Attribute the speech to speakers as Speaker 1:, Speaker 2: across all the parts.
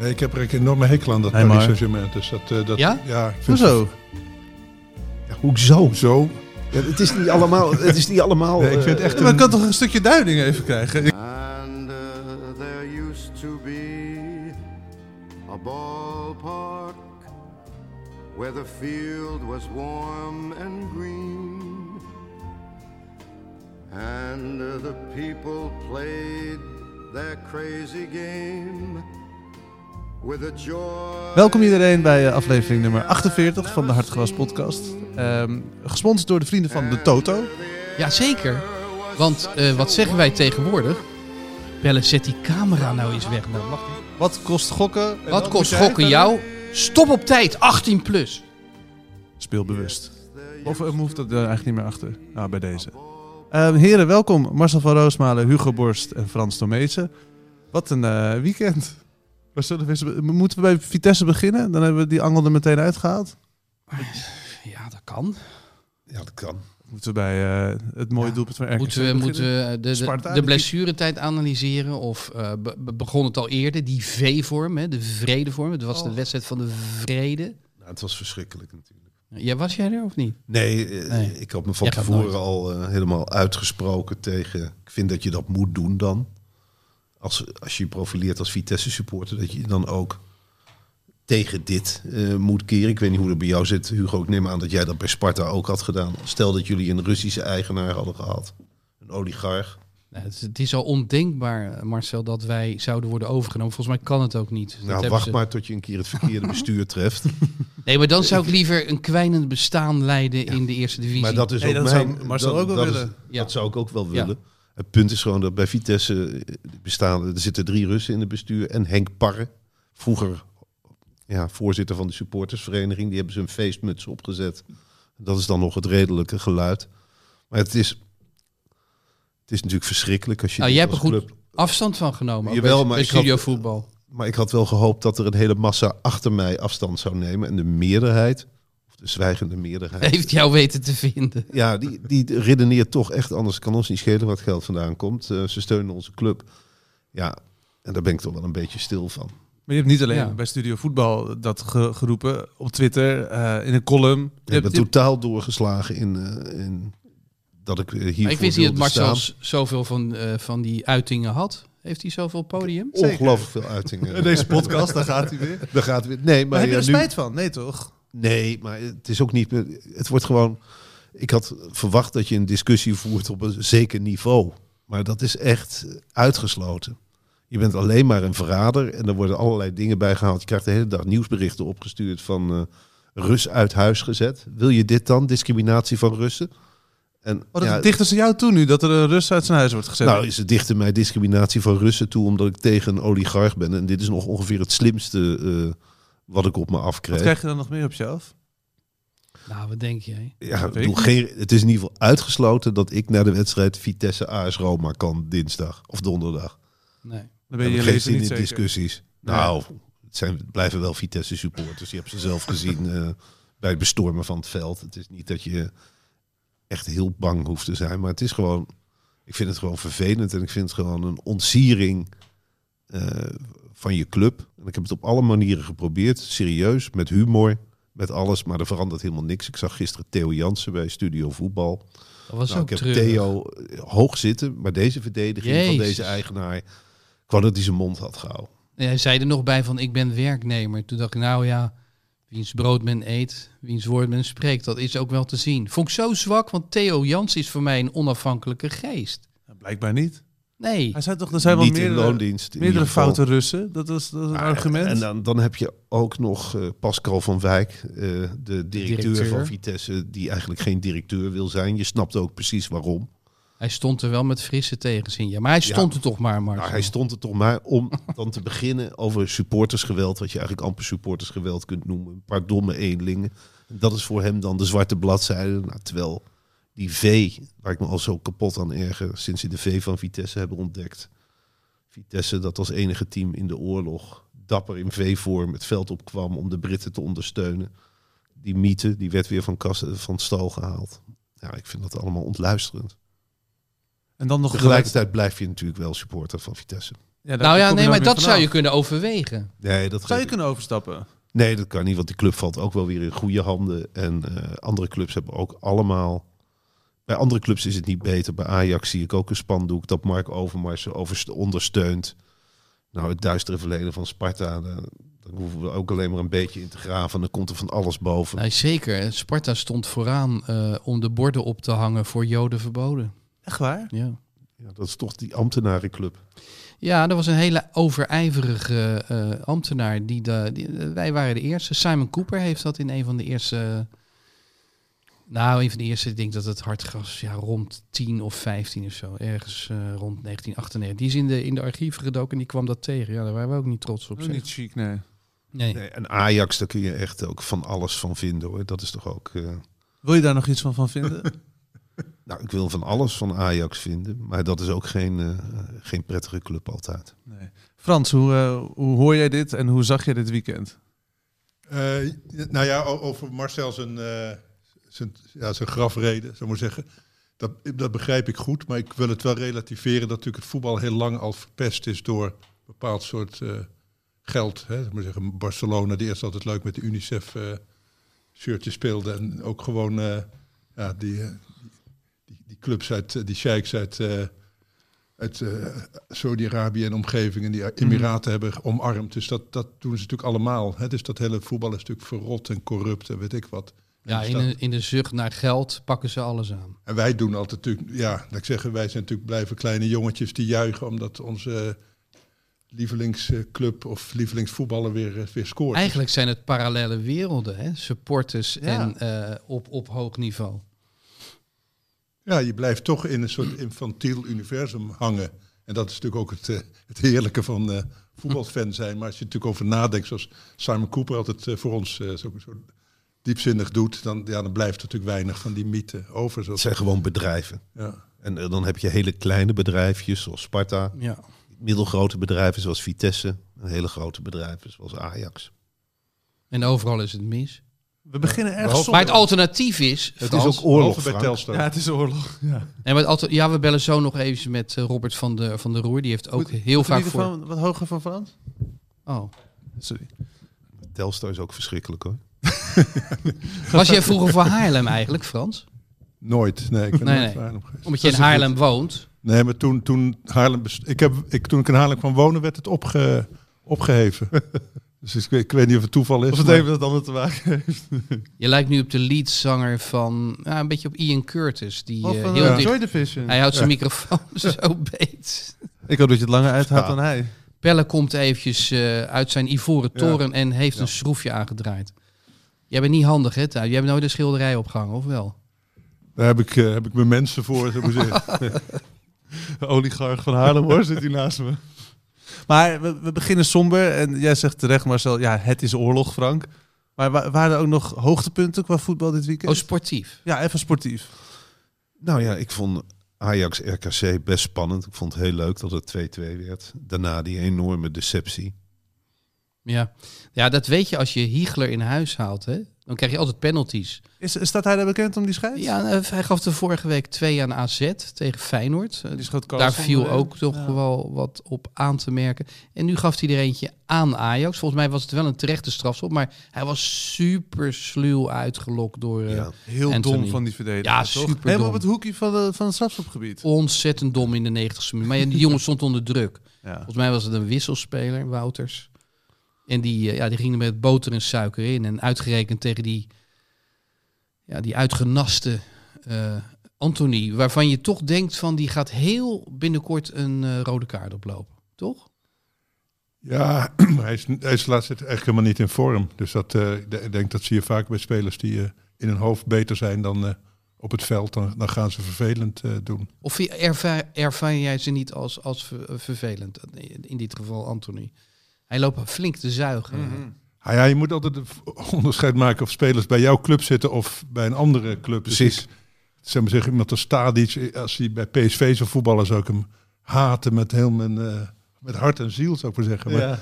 Speaker 1: Nee, ik heb er een enorme hekel aan dat
Speaker 2: Nee,
Speaker 1: Paris
Speaker 2: maar-
Speaker 1: Saint-Germain. Dus dat, eh, dat,
Speaker 3: Ja?
Speaker 1: Ja, ik vind
Speaker 2: Hoezo?
Speaker 4: Hoezo?
Speaker 1: het zo.
Speaker 4: Ja, het is niet allemaal. Het is niet allemaal
Speaker 1: Nee, ik vind
Speaker 4: eh,
Speaker 1: het echt
Speaker 2: Oh, Maar
Speaker 1: een...
Speaker 2: ik kan toch een stukje duiding even krijgen? Ik-
Speaker 5: And uh, there used to be a ballpark where the field was warm and green. And uh, the people played their crazy game with a joy.
Speaker 2: Welkom iedereen bij eh, aflevering nummer 48 van de Hartgras podcast. Ehm, gesponsord door de vrienden van de Toto.
Speaker 3: Jazeker. Want eh, wat zeggen wij tegenwoordig? Bellen, zet die camera nou eens weg. Dan. Wacht even.
Speaker 2: Wat kost gokken? En
Speaker 3: Wat
Speaker 2: dan moet
Speaker 3: kost
Speaker 2: jij
Speaker 3: gokken
Speaker 2: verder?
Speaker 3: jou? Stop op tijd, 18 plus.
Speaker 2: Speelbewust. Of eh, hoeft dat er eigenlijk niet meer achter? Nou, bij deze. Ehm, heren, welkom. Marcel van Roosmalen, Hugo Borst en Frans Tomezen. Wat een eh, weekend. Waar zullen we eens be- moeten we bij Vitesse beginnen? Dan hebben we die angel er meteen uitgehaald.
Speaker 3: Ja, dat kan.
Speaker 4: Ja, dat kan.
Speaker 2: Moeten we bij eh, het mooie
Speaker 3: Ja.
Speaker 2: doelpunt van RKC
Speaker 3: Moeten we,
Speaker 2: beginnen?
Speaker 3: moeten we eh, de, de,
Speaker 2: Sparta,
Speaker 3: de
Speaker 2: die-
Speaker 3: blessuretijd analyseren? Of eh, be- be- begon het al eerder? Die V-vorm, hè, de vredevorm. Het was de wedstrijd van de vrede.
Speaker 4: Nou, het was verschrikkelijk natuurlijk.
Speaker 3: Ja, was jij er of niet?
Speaker 4: Nee, eh,
Speaker 3: Nee.
Speaker 4: ik had me van
Speaker 3: Jij gaat
Speaker 4: tevoren
Speaker 3: nooit.
Speaker 4: al eh, helemaal uitgesproken tegen. Ik vind dat je dat moet doen dan. Als, als je je profileert als Vitesse supporter, dat je je dan ook tegen dit eh, moet keren. Ik weet niet hoe dat bij jou zit, Hugo. Ik neem aan dat jij dat bij Sparta ook had gedaan. Stel dat jullie een Russische eigenaar hadden gehad. Een oligarch.
Speaker 3: Nou, het, het is al ondenkbaar, eh, Marcel, dat wij zouden worden overgenomen. Volgens mij kan het ook niet. Dat
Speaker 4: Nou,
Speaker 3: hebben
Speaker 4: wacht
Speaker 3: ze-
Speaker 4: maar tot je een keer het verkeerde bestuur treft.
Speaker 3: Nee, maar dan zou ik liever een kwijnend bestaan leiden in de eerste divisie.
Speaker 4: Maar dat is
Speaker 2: Nee,
Speaker 4: ook
Speaker 2: dat
Speaker 4: mijn...
Speaker 2: zou Marcel ook wel
Speaker 4: dat
Speaker 2: willen.
Speaker 4: is-
Speaker 3: Ja.
Speaker 4: Dat zou ik ook wel
Speaker 3: Ja.
Speaker 4: willen. Het punt is gewoon dat bij Vitesse eh, bestaan... Er zitten drie Russen in het bestuur. En Henk Parre, vroeger ja, voorzitter van de supportersvereniging... die hebben ze een feestmuts opgezet. Dat is dan nog het redelijke geluid. Maar het is... Het is natuurlijk verschrikkelijk als je...
Speaker 3: Nou,
Speaker 4: dit
Speaker 3: jij hebt
Speaker 4: als
Speaker 3: er goed
Speaker 4: club-
Speaker 3: afstand van genomen. ook
Speaker 4: Jawel,
Speaker 3: bij,
Speaker 4: maar
Speaker 3: bij
Speaker 4: ik had-
Speaker 3: studio voetbal.
Speaker 4: Maar ik had wel gehoopt dat er een hele massa achter mij afstand zou nemen. En de meerderheid, of de zwijgende meerderheid...
Speaker 3: Heeft jou weten te vinden.
Speaker 4: Ja, die, die redeneert toch echt anders. Kan ons niet schelen wat geld vandaan komt. Eh, ze steunen onze club. Ja, en daar ben ik toch wel een beetje stil van.
Speaker 2: Maar je hebt niet alleen
Speaker 3: Ja.
Speaker 2: bij Studio Voetbal dat ge- geroepen. Op Twitter, eh, in een column.
Speaker 4: Ik ben totaal doorgeslagen in, eh, in dat ik eh,
Speaker 3: Maar
Speaker 4: hiervoor
Speaker 3: ik wist niet dat
Speaker 4: wilde
Speaker 3: Marcel
Speaker 4: staan.
Speaker 3: s- zoveel van, eh, van die uitingen had. Heeft hij zoveel podium?
Speaker 4: Ongelooflijk veel uitingen.
Speaker 2: Deze podcast, daar gaat hij weer. Maar,
Speaker 4: Daar gaat weer. Nee, maar,
Speaker 2: heb je
Speaker 4: ja,
Speaker 2: er
Speaker 4: eh, nu-
Speaker 2: spijt van? Nee, toch? Oh,
Speaker 4: Nee, maar het is ook niet meer. Het wordt gewoon. Ik had verwacht dat je een discussie voert op een zeker niveau. Maar dat is echt uitgesloten. Je bent alleen maar een verrader en er worden allerlei dingen bijgehaald. Je krijgt de hele dag nieuwsberichten opgestuurd van eh, Rus uit huis gezet. Wil je dit dan? Discriminatie van Russen? En,
Speaker 2: Oh, dat
Speaker 4: ja,
Speaker 2: dichten ze jou toe nu, dat er een Rus uit zijn huis wordt gezet.
Speaker 4: nou, ze dichten mij discriminatie van Russen toe omdat ik tegen een oligarch ben. En dit is nog ongeveer het slimste eh, wat ik op me
Speaker 2: Wat
Speaker 4: afkreeg.
Speaker 2: krijg je dan nog meer op je af?
Speaker 3: Nou, wat denk jij?
Speaker 4: Ja,
Speaker 2: Dat weet
Speaker 4: doe
Speaker 2: ik
Speaker 4: geen, het is in ieder geval uitgesloten dat ik naar de wedstrijd Vitesse AS Roma kan dinsdag of donderdag.
Speaker 3: Nee.
Speaker 2: Dan
Speaker 4: We
Speaker 2: ben je je
Speaker 4: geen
Speaker 2: leven
Speaker 4: zin in
Speaker 2: niet zeker.
Speaker 4: discussies.
Speaker 2: Nee.
Speaker 4: Nou, het zijn, het blijven wel Vitesse supporters. Je hebt ze zelf gezien eh, bij het bestormen van het veld. Het is niet dat je echt heel bang hoeft te zijn, maar het is gewoon. Ik vind het gewoon vervelend en ik vind het gewoon een ontsiering eh, van je club. En ik heb het op alle manieren geprobeerd, serieus, met humor, met alles, maar er verandert helemaal niks. Ik zag gisteren Theo Jansen bij Studio Voetbal.
Speaker 3: Dat was
Speaker 4: Nou,
Speaker 3: ook
Speaker 4: ik heb
Speaker 3: treurig.
Speaker 4: Theo eh, hoog zitten, maar deze verdediging van
Speaker 3: Jezus.
Speaker 4: deze eigenaar, kwam dat hij zijn mond had gehouden.
Speaker 3: En Hij zei er nog bij van, ik ben werknemer. Toen dacht ik, nou ja, Wiens brood men eet, wiens woord men spreekt, dat is ook wel te zien. Vond ik zo zwak, want Theo Jans is voor mij een onafhankelijke geest.
Speaker 2: Nou, Blijkbaar niet.
Speaker 3: Nee,
Speaker 2: Hij zei toch, er zijn wel
Speaker 4: niet in
Speaker 2: meerdere,
Speaker 4: loondienst. in
Speaker 2: meerdere
Speaker 4: ieder geval.
Speaker 2: foute Russen. Dat is, dat is een
Speaker 4: Maar-
Speaker 2: argument.
Speaker 4: En dan, dan heb je ook nog eh, Pascal van Wijk, eh, de directeur,
Speaker 3: Directeur.
Speaker 4: van Vitesse, die eigenlijk geen directeur wil zijn. Je snapt ook precies waarom.
Speaker 3: hij stond er wel met frisse tegenzin. Ja, maar hij
Speaker 4: Ja.
Speaker 3: stond er toch maar, Marcel.
Speaker 4: Nou, hij stond er toch maar om dan te beginnen over supportersgeweld, wat je eigenlijk amper supportersgeweld kunt noemen. Een paar domme eenlingen. Dat is voor hem dan de zwarte bladzijde. Nou, terwijl die V, waar ik me al zo kapot aan erger, sinds ze de V van Vitesse hebben ontdekt. Vitesse dat als enige team in de oorlog dapper in V-vorm het veld opkwam om de Britten te ondersteunen. Die mythe, die werd weer van, kas, van stal gehaald. Ja, ik vind dat allemaal ontluisterend.
Speaker 2: En dan nog
Speaker 4: Tegelijkertijd blijf je natuurlijk wel supporter van Vitesse.
Speaker 2: Ja, daar
Speaker 3: nou ja,
Speaker 2: kom je
Speaker 3: nee,
Speaker 2: nooit
Speaker 3: maar
Speaker 2: meer
Speaker 3: dat zou je
Speaker 2: vanaf.
Speaker 3: kunnen overwegen.
Speaker 4: Nee, dat
Speaker 2: Zou
Speaker 4: geef
Speaker 2: je kunnen overstappen?
Speaker 4: Nee, dat kan niet, want die club valt ook wel weer in goede handen. En eh, andere clubs hebben ook allemaal... Bij andere clubs is het niet beter. Bij Ajax zie ik ook een spandoek dat Mark Overmars overst- ondersteunt. Nou, het duistere verleden van Sparta, eh, daar hoeven we ook alleen maar een beetje in te graven. En dan komt er van alles boven.
Speaker 3: Nee, zeker. Sparta stond vooraan eh, om de borden op te hangen voor Joden verboden.
Speaker 2: Echt waar?
Speaker 3: Ja.
Speaker 4: Ja, dat is toch die ambtenarenclub.
Speaker 3: Ja, er was een hele overijverige eh, ambtenaar. Die de, die- eh, wij waren de eerste. Simon Cooper heeft dat in een van de eerste... Nou, een van de eerste, ik denk dat het hartgas ja, rond 10 of 15 of zo. Ergens eh, rond 1998. Die is in de, in de archieven gedoken en die kwam dat tegen. Ja, daar waren we ook niet trots op.
Speaker 2: Ook
Speaker 3: zeg.
Speaker 2: Niet chic, nee.
Speaker 3: Nee.
Speaker 4: Nee, en Ajax, daar kun je echt ook van alles van vinden hoor. Dat is toch ook... eh,
Speaker 2: Wil je daar nog iets van, van vinden?
Speaker 4: Nou, ik wil van alles van Ajax vinden. Maar dat is ook geen, eh, geen prettige club altijd.
Speaker 2: nee. Frans, hoe, eh, hoe hoor jij dit en hoe zag je dit weekend?
Speaker 1: Eh, nou ja, o- over Marcel zijn, eh, zijn, ja, zijn grafreden, zou ik maar zeggen. Dat, dat begrijp ik goed, maar ik wil het wel relativeren dat natuurlijk het voetbal heel lang al verpest is door een bepaald soort eh, geld. Hè. Zou ik maar zeggen, Barcelona, die eerst altijd leuk met de UNICEF eh shirtjes speelde. En ook gewoon eh, ja, die, eh, die, die clubs uit, eh, die sheiks uit, eh, uit eh, Saudi-Arabië en omgeving en die Emiraten hebben omarmd. Dus dat, dat doen ze natuurlijk allemaal. Hè? Dus dat hele voetbal is natuurlijk verrot en corrupt en weet ik wat.
Speaker 2: dus
Speaker 3: Ja, in de, in de zucht naar geld pakken ze alles aan.
Speaker 1: En wij doen altijd natuurlijk, ja, laat ik zeggen, wij zijn natuurlijk blijven kleine jongetjes die juichen omdat onze eh, lievelingsclub of lievelingsvoetballer weer, eh, weer scoort.
Speaker 3: Eigenlijk zijn het parallele werelden, hè? supporters
Speaker 2: Ja.
Speaker 3: en eh, op, op hoog niveau.
Speaker 1: Ja, je blijft toch in een soort infantiel universum hangen. En dat is natuurlijk ook het, eh, het heerlijke van eh, voetbalfan zijn. Maar als je natuurlijk over nadenkt, zoals Simon Cooper altijd eh, voor ons eh, zo, zo diepzinnig doet, dan, ja, dan blijft er natuurlijk weinig van die mythe over.
Speaker 4: Het
Speaker 1: Zoals,
Speaker 4: zijn gewoon bedrijven.
Speaker 1: ja.
Speaker 4: En eh, dan heb je hele kleine bedrijfjes zoals Sparta,
Speaker 3: Ja.
Speaker 4: middelgrote bedrijven zoals Vitesse en hele grote bedrijven zoals Ajax.
Speaker 3: En overal is het mis.
Speaker 2: We beginnen erg
Speaker 1: hopen-
Speaker 2: soms.
Speaker 3: Maar het alternatief is.
Speaker 1: Het
Speaker 4: is
Speaker 1: is
Speaker 4: ook
Speaker 1: ook
Speaker 4: oorlog,
Speaker 1: oorlog bij
Speaker 4: Frank.
Speaker 1: Telstar.
Speaker 2: Ja, het is oorlog. Ja.
Speaker 3: Nee, maar het alter- ja, we bellen zo nog even met eh, Robert van de, van de Roer. Die heeft ook
Speaker 2: Moet-
Speaker 3: heel vaak
Speaker 2: Moet je
Speaker 3: voor.
Speaker 2: ervan wat hoger van Frans?
Speaker 3: Oh.
Speaker 2: Sorry.
Speaker 4: Telstar is ook verschrikkelijk hoor.
Speaker 3: Was jij vroeger voor Haarlem eigenlijk, Frans?
Speaker 1: Nooit, nee. Ik ben
Speaker 3: Nee,
Speaker 1: nooit
Speaker 3: nee.
Speaker 1: naar Haarlem geweest.
Speaker 3: Omdat je in
Speaker 1: Dat is een
Speaker 3: Haarlem woont.
Speaker 1: Nee, maar toen, toen, Haarlem best- ik heb, ik, toen ik in Haarlem kwam wonen, werd het opge, opgeheven. dus ik, weet- ik weet niet of het toeval is.
Speaker 2: Of het
Speaker 1: maar-
Speaker 2: heeft met het ander te maken.
Speaker 3: Je lijkt nu op de leadzanger van. Ja, een beetje op Ian Curtis. Die
Speaker 2: Of
Speaker 3: eh,
Speaker 2: van
Speaker 3: heel
Speaker 2: eh,
Speaker 3: dicht.
Speaker 2: Joy Division.
Speaker 3: Hij houdt zijn microfoon zo beet.
Speaker 2: Ik hoop dat je het langer uithoudt dan hij.
Speaker 3: Pelle komt eventjes eh, uit zijn ivoren
Speaker 1: Ja.
Speaker 3: toren en heeft een schroefje aangedraaid. Jij bent niet handig, hè? Thijs? Jij hebt nooit een schilderij opgehangen, of wel?
Speaker 1: Daar heb ik, eh, heb ik mijn mensen voor, zou ik maar zeggen.
Speaker 2: De oligarch van Haarlem hoor, zit hier naast me. Maar we, we beginnen somber en jij zegt terecht Marcel, ja het is oorlog Frank. Maar wa- waren er ook nog hoogtepunten qua voetbal dit weekend?
Speaker 3: Oh, sportief.
Speaker 2: ja, even sportief.
Speaker 4: Nou ja, ik vond Ajax RKC best spannend. Ik vond het heel leuk dat het 2-2 werd. Daarna die enorme deceptie.
Speaker 3: Ja. ja, dat weet je als je Hiegler in huis haalt, hè? Dan krijg je altijd penalties.
Speaker 2: Is, staat hij daar bekend om die scheids?
Speaker 3: Ja, eh, hij gaf de vorige week twee aan AZ tegen Feyenoord. Eh,
Speaker 2: Die schoot
Speaker 3: Daar
Speaker 2: Carlson
Speaker 3: viel
Speaker 2: erin.
Speaker 3: ook toch
Speaker 2: Ja.
Speaker 3: wel wat op aan te merken. En nu gaf hij er eentje aan Ajax. Volgens mij was het wel een terechte strafschop, maar hij was super sluw uitgelokt door... eh,
Speaker 4: Ja.
Speaker 2: Heel dom
Speaker 3: Anthony.
Speaker 2: van die verdediger.
Speaker 3: Ja,
Speaker 2: toch?
Speaker 3: superdom.
Speaker 2: Helemaal op het hoekje van, de, van het strafschopgebied.
Speaker 3: Ontzettend dom in de 90ste minuut. Maar ja, die jongen stond onder druk.
Speaker 2: Ja.
Speaker 3: Volgens mij was het een wisselspeler, Wouters. En die, eh, ja, die ging er met boter en suiker in. En uitgerekend tegen die, ja, die uitgenaste eh, Anthony. Waarvan je toch denkt van die gaat heel binnenkort een eh, rode kaart oplopen. Toch?
Speaker 1: Ja, maar hij is, hij is de laatste tijd eigenlijk helemaal niet in vorm. Dus dat, eh, ik de- ik denk dat zie je vaak bij spelers die eh, in hun hoofd beter zijn dan eh, op het veld. Dan, dan gaan ze vervelend eh, doen.
Speaker 3: Of je- ervaar, ervaar jij ze niet als, als ver- vervelend? In dit geval Anthony. Hij loopt flink te zuigen.
Speaker 1: Ah ja, je moet altijd een v- onderscheid maken of spelers bij jouw club zitten of bij een andere club. Dus
Speaker 4: Precies.
Speaker 1: ik- Zeg maar zeggen, iemand als Tadic, eh, als hij bij PSV zou voetballen, zou ik hem haten met heel mijn... eh, met hart en ziel, zou ik maar zeggen. Maar,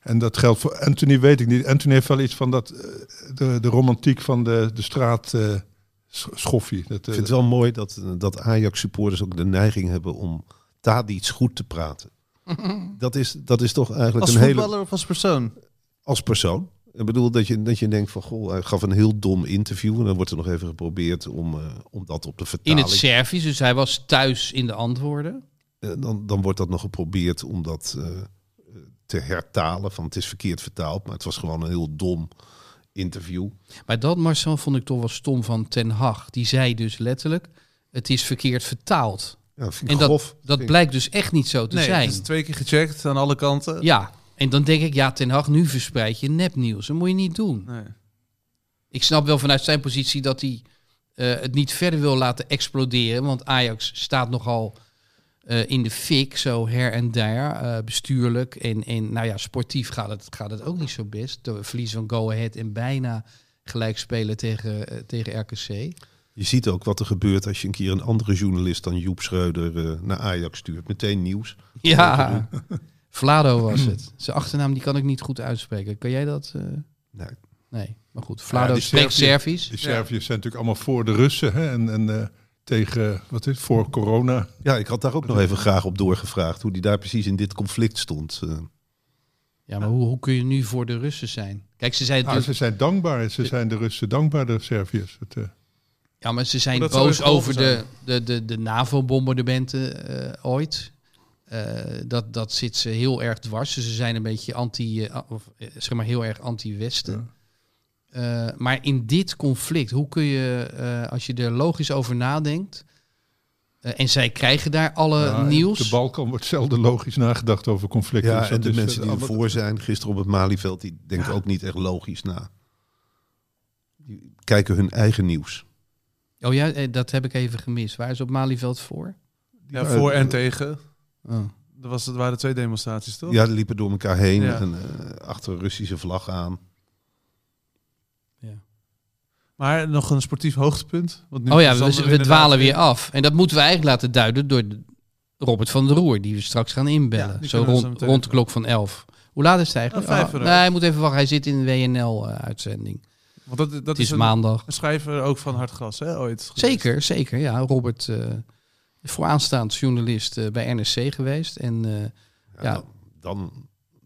Speaker 1: En dat geldt voor Anthony, weet ik niet. Anthony heeft wel iets van dat, eh, de, de romantiek van de, de straat... eh, sch- schoffie. Dat,
Speaker 4: Ik
Speaker 1: eh,
Speaker 4: vind het wel mooi dat, dat Ajax-supporters ook de neiging hebben om Tadic goed te praten. Dat is, dat is toch eigenlijk
Speaker 2: Als
Speaker 4: een hele...
Speaker 2: voetballer of als persoon?
Speaker 4: als persoon. Ik bedoel dat je, dat je denkt van, goh, hij gaf een heel dom interview. En dan wordt er nog even geprobeerd om, eh, om dat op de
Speaker 3: In
Speaker 4: vertaling...
Speaker 3: het Servisch, dus hij was thuis in de antwoorden.
Speaker 4: Eh, dan, dan wordt dat nog geprobeerd om dat eh, eh, te hertalen. Van het is verkeerd vertaald, maar het was gewoon een heel dom interview.
Speaker 3: Maar dat, Marcel, vond ik toch wel stom van Ten Hag. Die zei dus letterlijk, het is verkeerd vertaald.
Speaker 4: Ja, vind ik
Speaker 3: En dat,
Speaker 4: grof. Vind
Speaker 3: dat
Speaker 4: ik-
Speaker 3: blijkt dus echt niet zo te
Speaker 2: Nee,
Speaker 3: zijn.
Speaker 2: het is twee keer gecheckt aan alle kanten.
Speaker 3: Ja, en dan denk ik, ja, Ten Hag, nu verspreid je nepnieuws. Dat moet je niet doen.
Speaker 2: Nee.
Speaker 3: Ik snap wel vanuit zijn positie dat hij eh, het niet verder wil laten exploderen. Want Ajax staat nogal eh, in de fik, zo her en daar, eh, bestuurlijk. En, en nou ja, sportief gaat het, gaat het ook niet zo best. De verlies van Go Ahead en bijna gelijk spelen tegen, eh, tegen RKC.
Speaker 4: Je ziet ook wat er gebeurt als je een keer een andere journalist dan Joep Schreuder eh, naar Ajax stuurt. Meteen nieuws.
Speaker 3: Ja, Vlado was het. Zijn achternaam die kan ik niet goed uitspreken. Kan jij dat? eh?
Speaker 4: Nee.
Speaker 3: Nee, maar goed. Vlado
Speaker 1: die
Speaker 3: spreekt
Speaker 1: Servië-
Speaker 3: Servisch.
Speaker 1: Die Serviërs zijn natuurlijk allemaal voor de Russen hè? en, en eh, tegen, wat is het, voor corona.
Speaker 4: Ja, ik had daar ook nog even graag op doorgevraagd hoe die daar precies in dit conflict stond. Eh,
Speaker 3: Ja, maar hoe, hoe kun je nu voor de Russen zijn? Kijk, ze zijn
Speaker 1: Ah,
Speaker 3: natuurlijk...
Speaker 1: ze zijn dankbaar, ze zijn de Russen dankbaar, de Serviërs. Het, eh,
Speaker 3: Ja, maar ze zijn
Speaker 2: Maar dat zou
Speaker 3: boos
Speaker 2: even geholpen
Speaker 3: over de, de, de, de NAVO-bombardementen eh, ooit. Eh, dat, dat zit ze heel erg dwars. Dus ze zijn een beetje anti... eh, of, eh, zeg maar heel erg anti-Westen. Eh, maar in dit conflict, hoe kun je... eh, als je er logisch over nadenkt... eh, en zij krijgen daar alle
Speaker 1: ja, en
Speaker 3: nieuws.
Speaker 1: De Balkan wordt zelden logisch nagedacht over conflicten.
Speaker 4: ja,
Speaker 1: Dus
Speaker 4: en
Speaker 1: dat
Speaker 4: de
Speaker 1: is,
Speaker 4: mensen
Speaker 1: eh,
Speaker 4: die
Speaker 1: allemaal-
Speaker 4: ervoor zijn, gisteren op het Malieveld, die denken ook niet echt logisch na. Die kijken hun eigen nieuws.
Speaker 3: Oh ja, eh, dat heb ik even gemist. Waar is op Malieveld voor?
Speaker 2: Ja, voor
Speaker 4: Eh,
Speaker 2: en tegen.
Speaker 3: Oh.
Speaker 2: Er, was, er waren twee demonstraties, toch?
Speaker 4: Ja, die liepen door elkaar heen
Speaker 2: Ja.
Speaker 4: en eh, achter een Russische vlag aan.
Speaker 2: Maar nog een sportief hoogtepunt. Want nu
Speaker 3: Oh ja,
Speaker 2: verzanden
Speaker 3: we, we
Speaker 2: inderdaad
Speaker 3: dwalen weer af. En dat moeten we eigenlijk laten duiden door Robert van der Roer, die we straks gaan
Speaker 2: Ja,
Speaker 3: inbellen.
Speaker 2: die
Speaker 3: zo
Speaker 2: kunnen we
Speaker 3: rond,
Speaker 2: zo meteen
Speaker 3: rond de klok van 11. Hoe laat is het eigenlijk?
Speaker 2: Nou, vijf
Speaker 3: Ah,
Speaker 2: voor
Speaker 3: nee,
Speaker 2: elf.
Speaker 3: hij moet even wachten. Hij zit in de WNL-uitzending.
Speaker 2: Want dat, dat
Speaker 3: eh, het
Speaker 2: is,
Speaker 3: is
Speaker 2: een,
Speaker 3: maandag.
Speaker 2: een schrijver ook van Hartgras, hè, ooit. geweest.
Speaker 3: Zeker, zeker. Ja, Robert, eh, vooraanstaand journalist eh, bij NSC geweest. En
Speaker 4: Ja,
Speaker 3: eh, Ja.
Speaker 4: Dan, dan,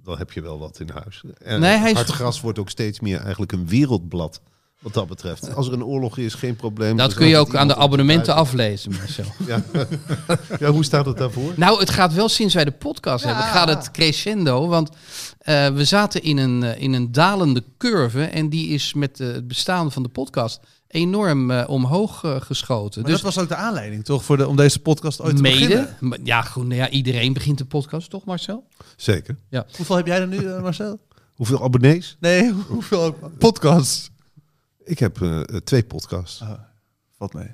Speaker 4: dan heb je wel wat in huis. En
Speaker 3: Nee, hij is-
Speaker 4: Hartgras wordt ook steeds meer eigenlijk een wereldblad wat dat betreft. Als er een oorlog is, geen probleem. Er
Speaker 3: dat
Speaker 4: is
Speaker 3: kun je
Speaker 4: altijd
Speaker 3: ook aan de
Speaker 4: iemand om te
Speaker 3: abonnementen aflezen, Marcel.
Speaker 4: kijken. Ja. ja, hoe staat het daarvoor?
Speaker 3: Nou, het gaat wel sinds wij de podcast hebben, gaat het crescendo. Want eh, we zaten in een, eh, in een dalende curve. En die is met eh, het bestaan van de podcast enorm eh, omhoog eh, geschoten.
Speaker 2: Maar
Speaker 3: dus
Speaker 2: dat was ook de aanleiding, toch, voor de, om deze podcast ooit te
Speaker 3: mede.
Speaker 2: beginnen?
Speaker 3: maar- Ja, goed, nou ja, iedereen begint de podcast, toch Marcel?
Speaker 4: Zeker.
Speaker 2: Hoeveel heb jij er nu, eh, Marcel?
Speaker 4: Hoeveel abonnees?
Speaker 2: Nee, hoeveel podcasts?
Speaker 4: Ik heb eh, twee podcasts.
Speaker 3: Ah.
Speaker 2: Valt mee.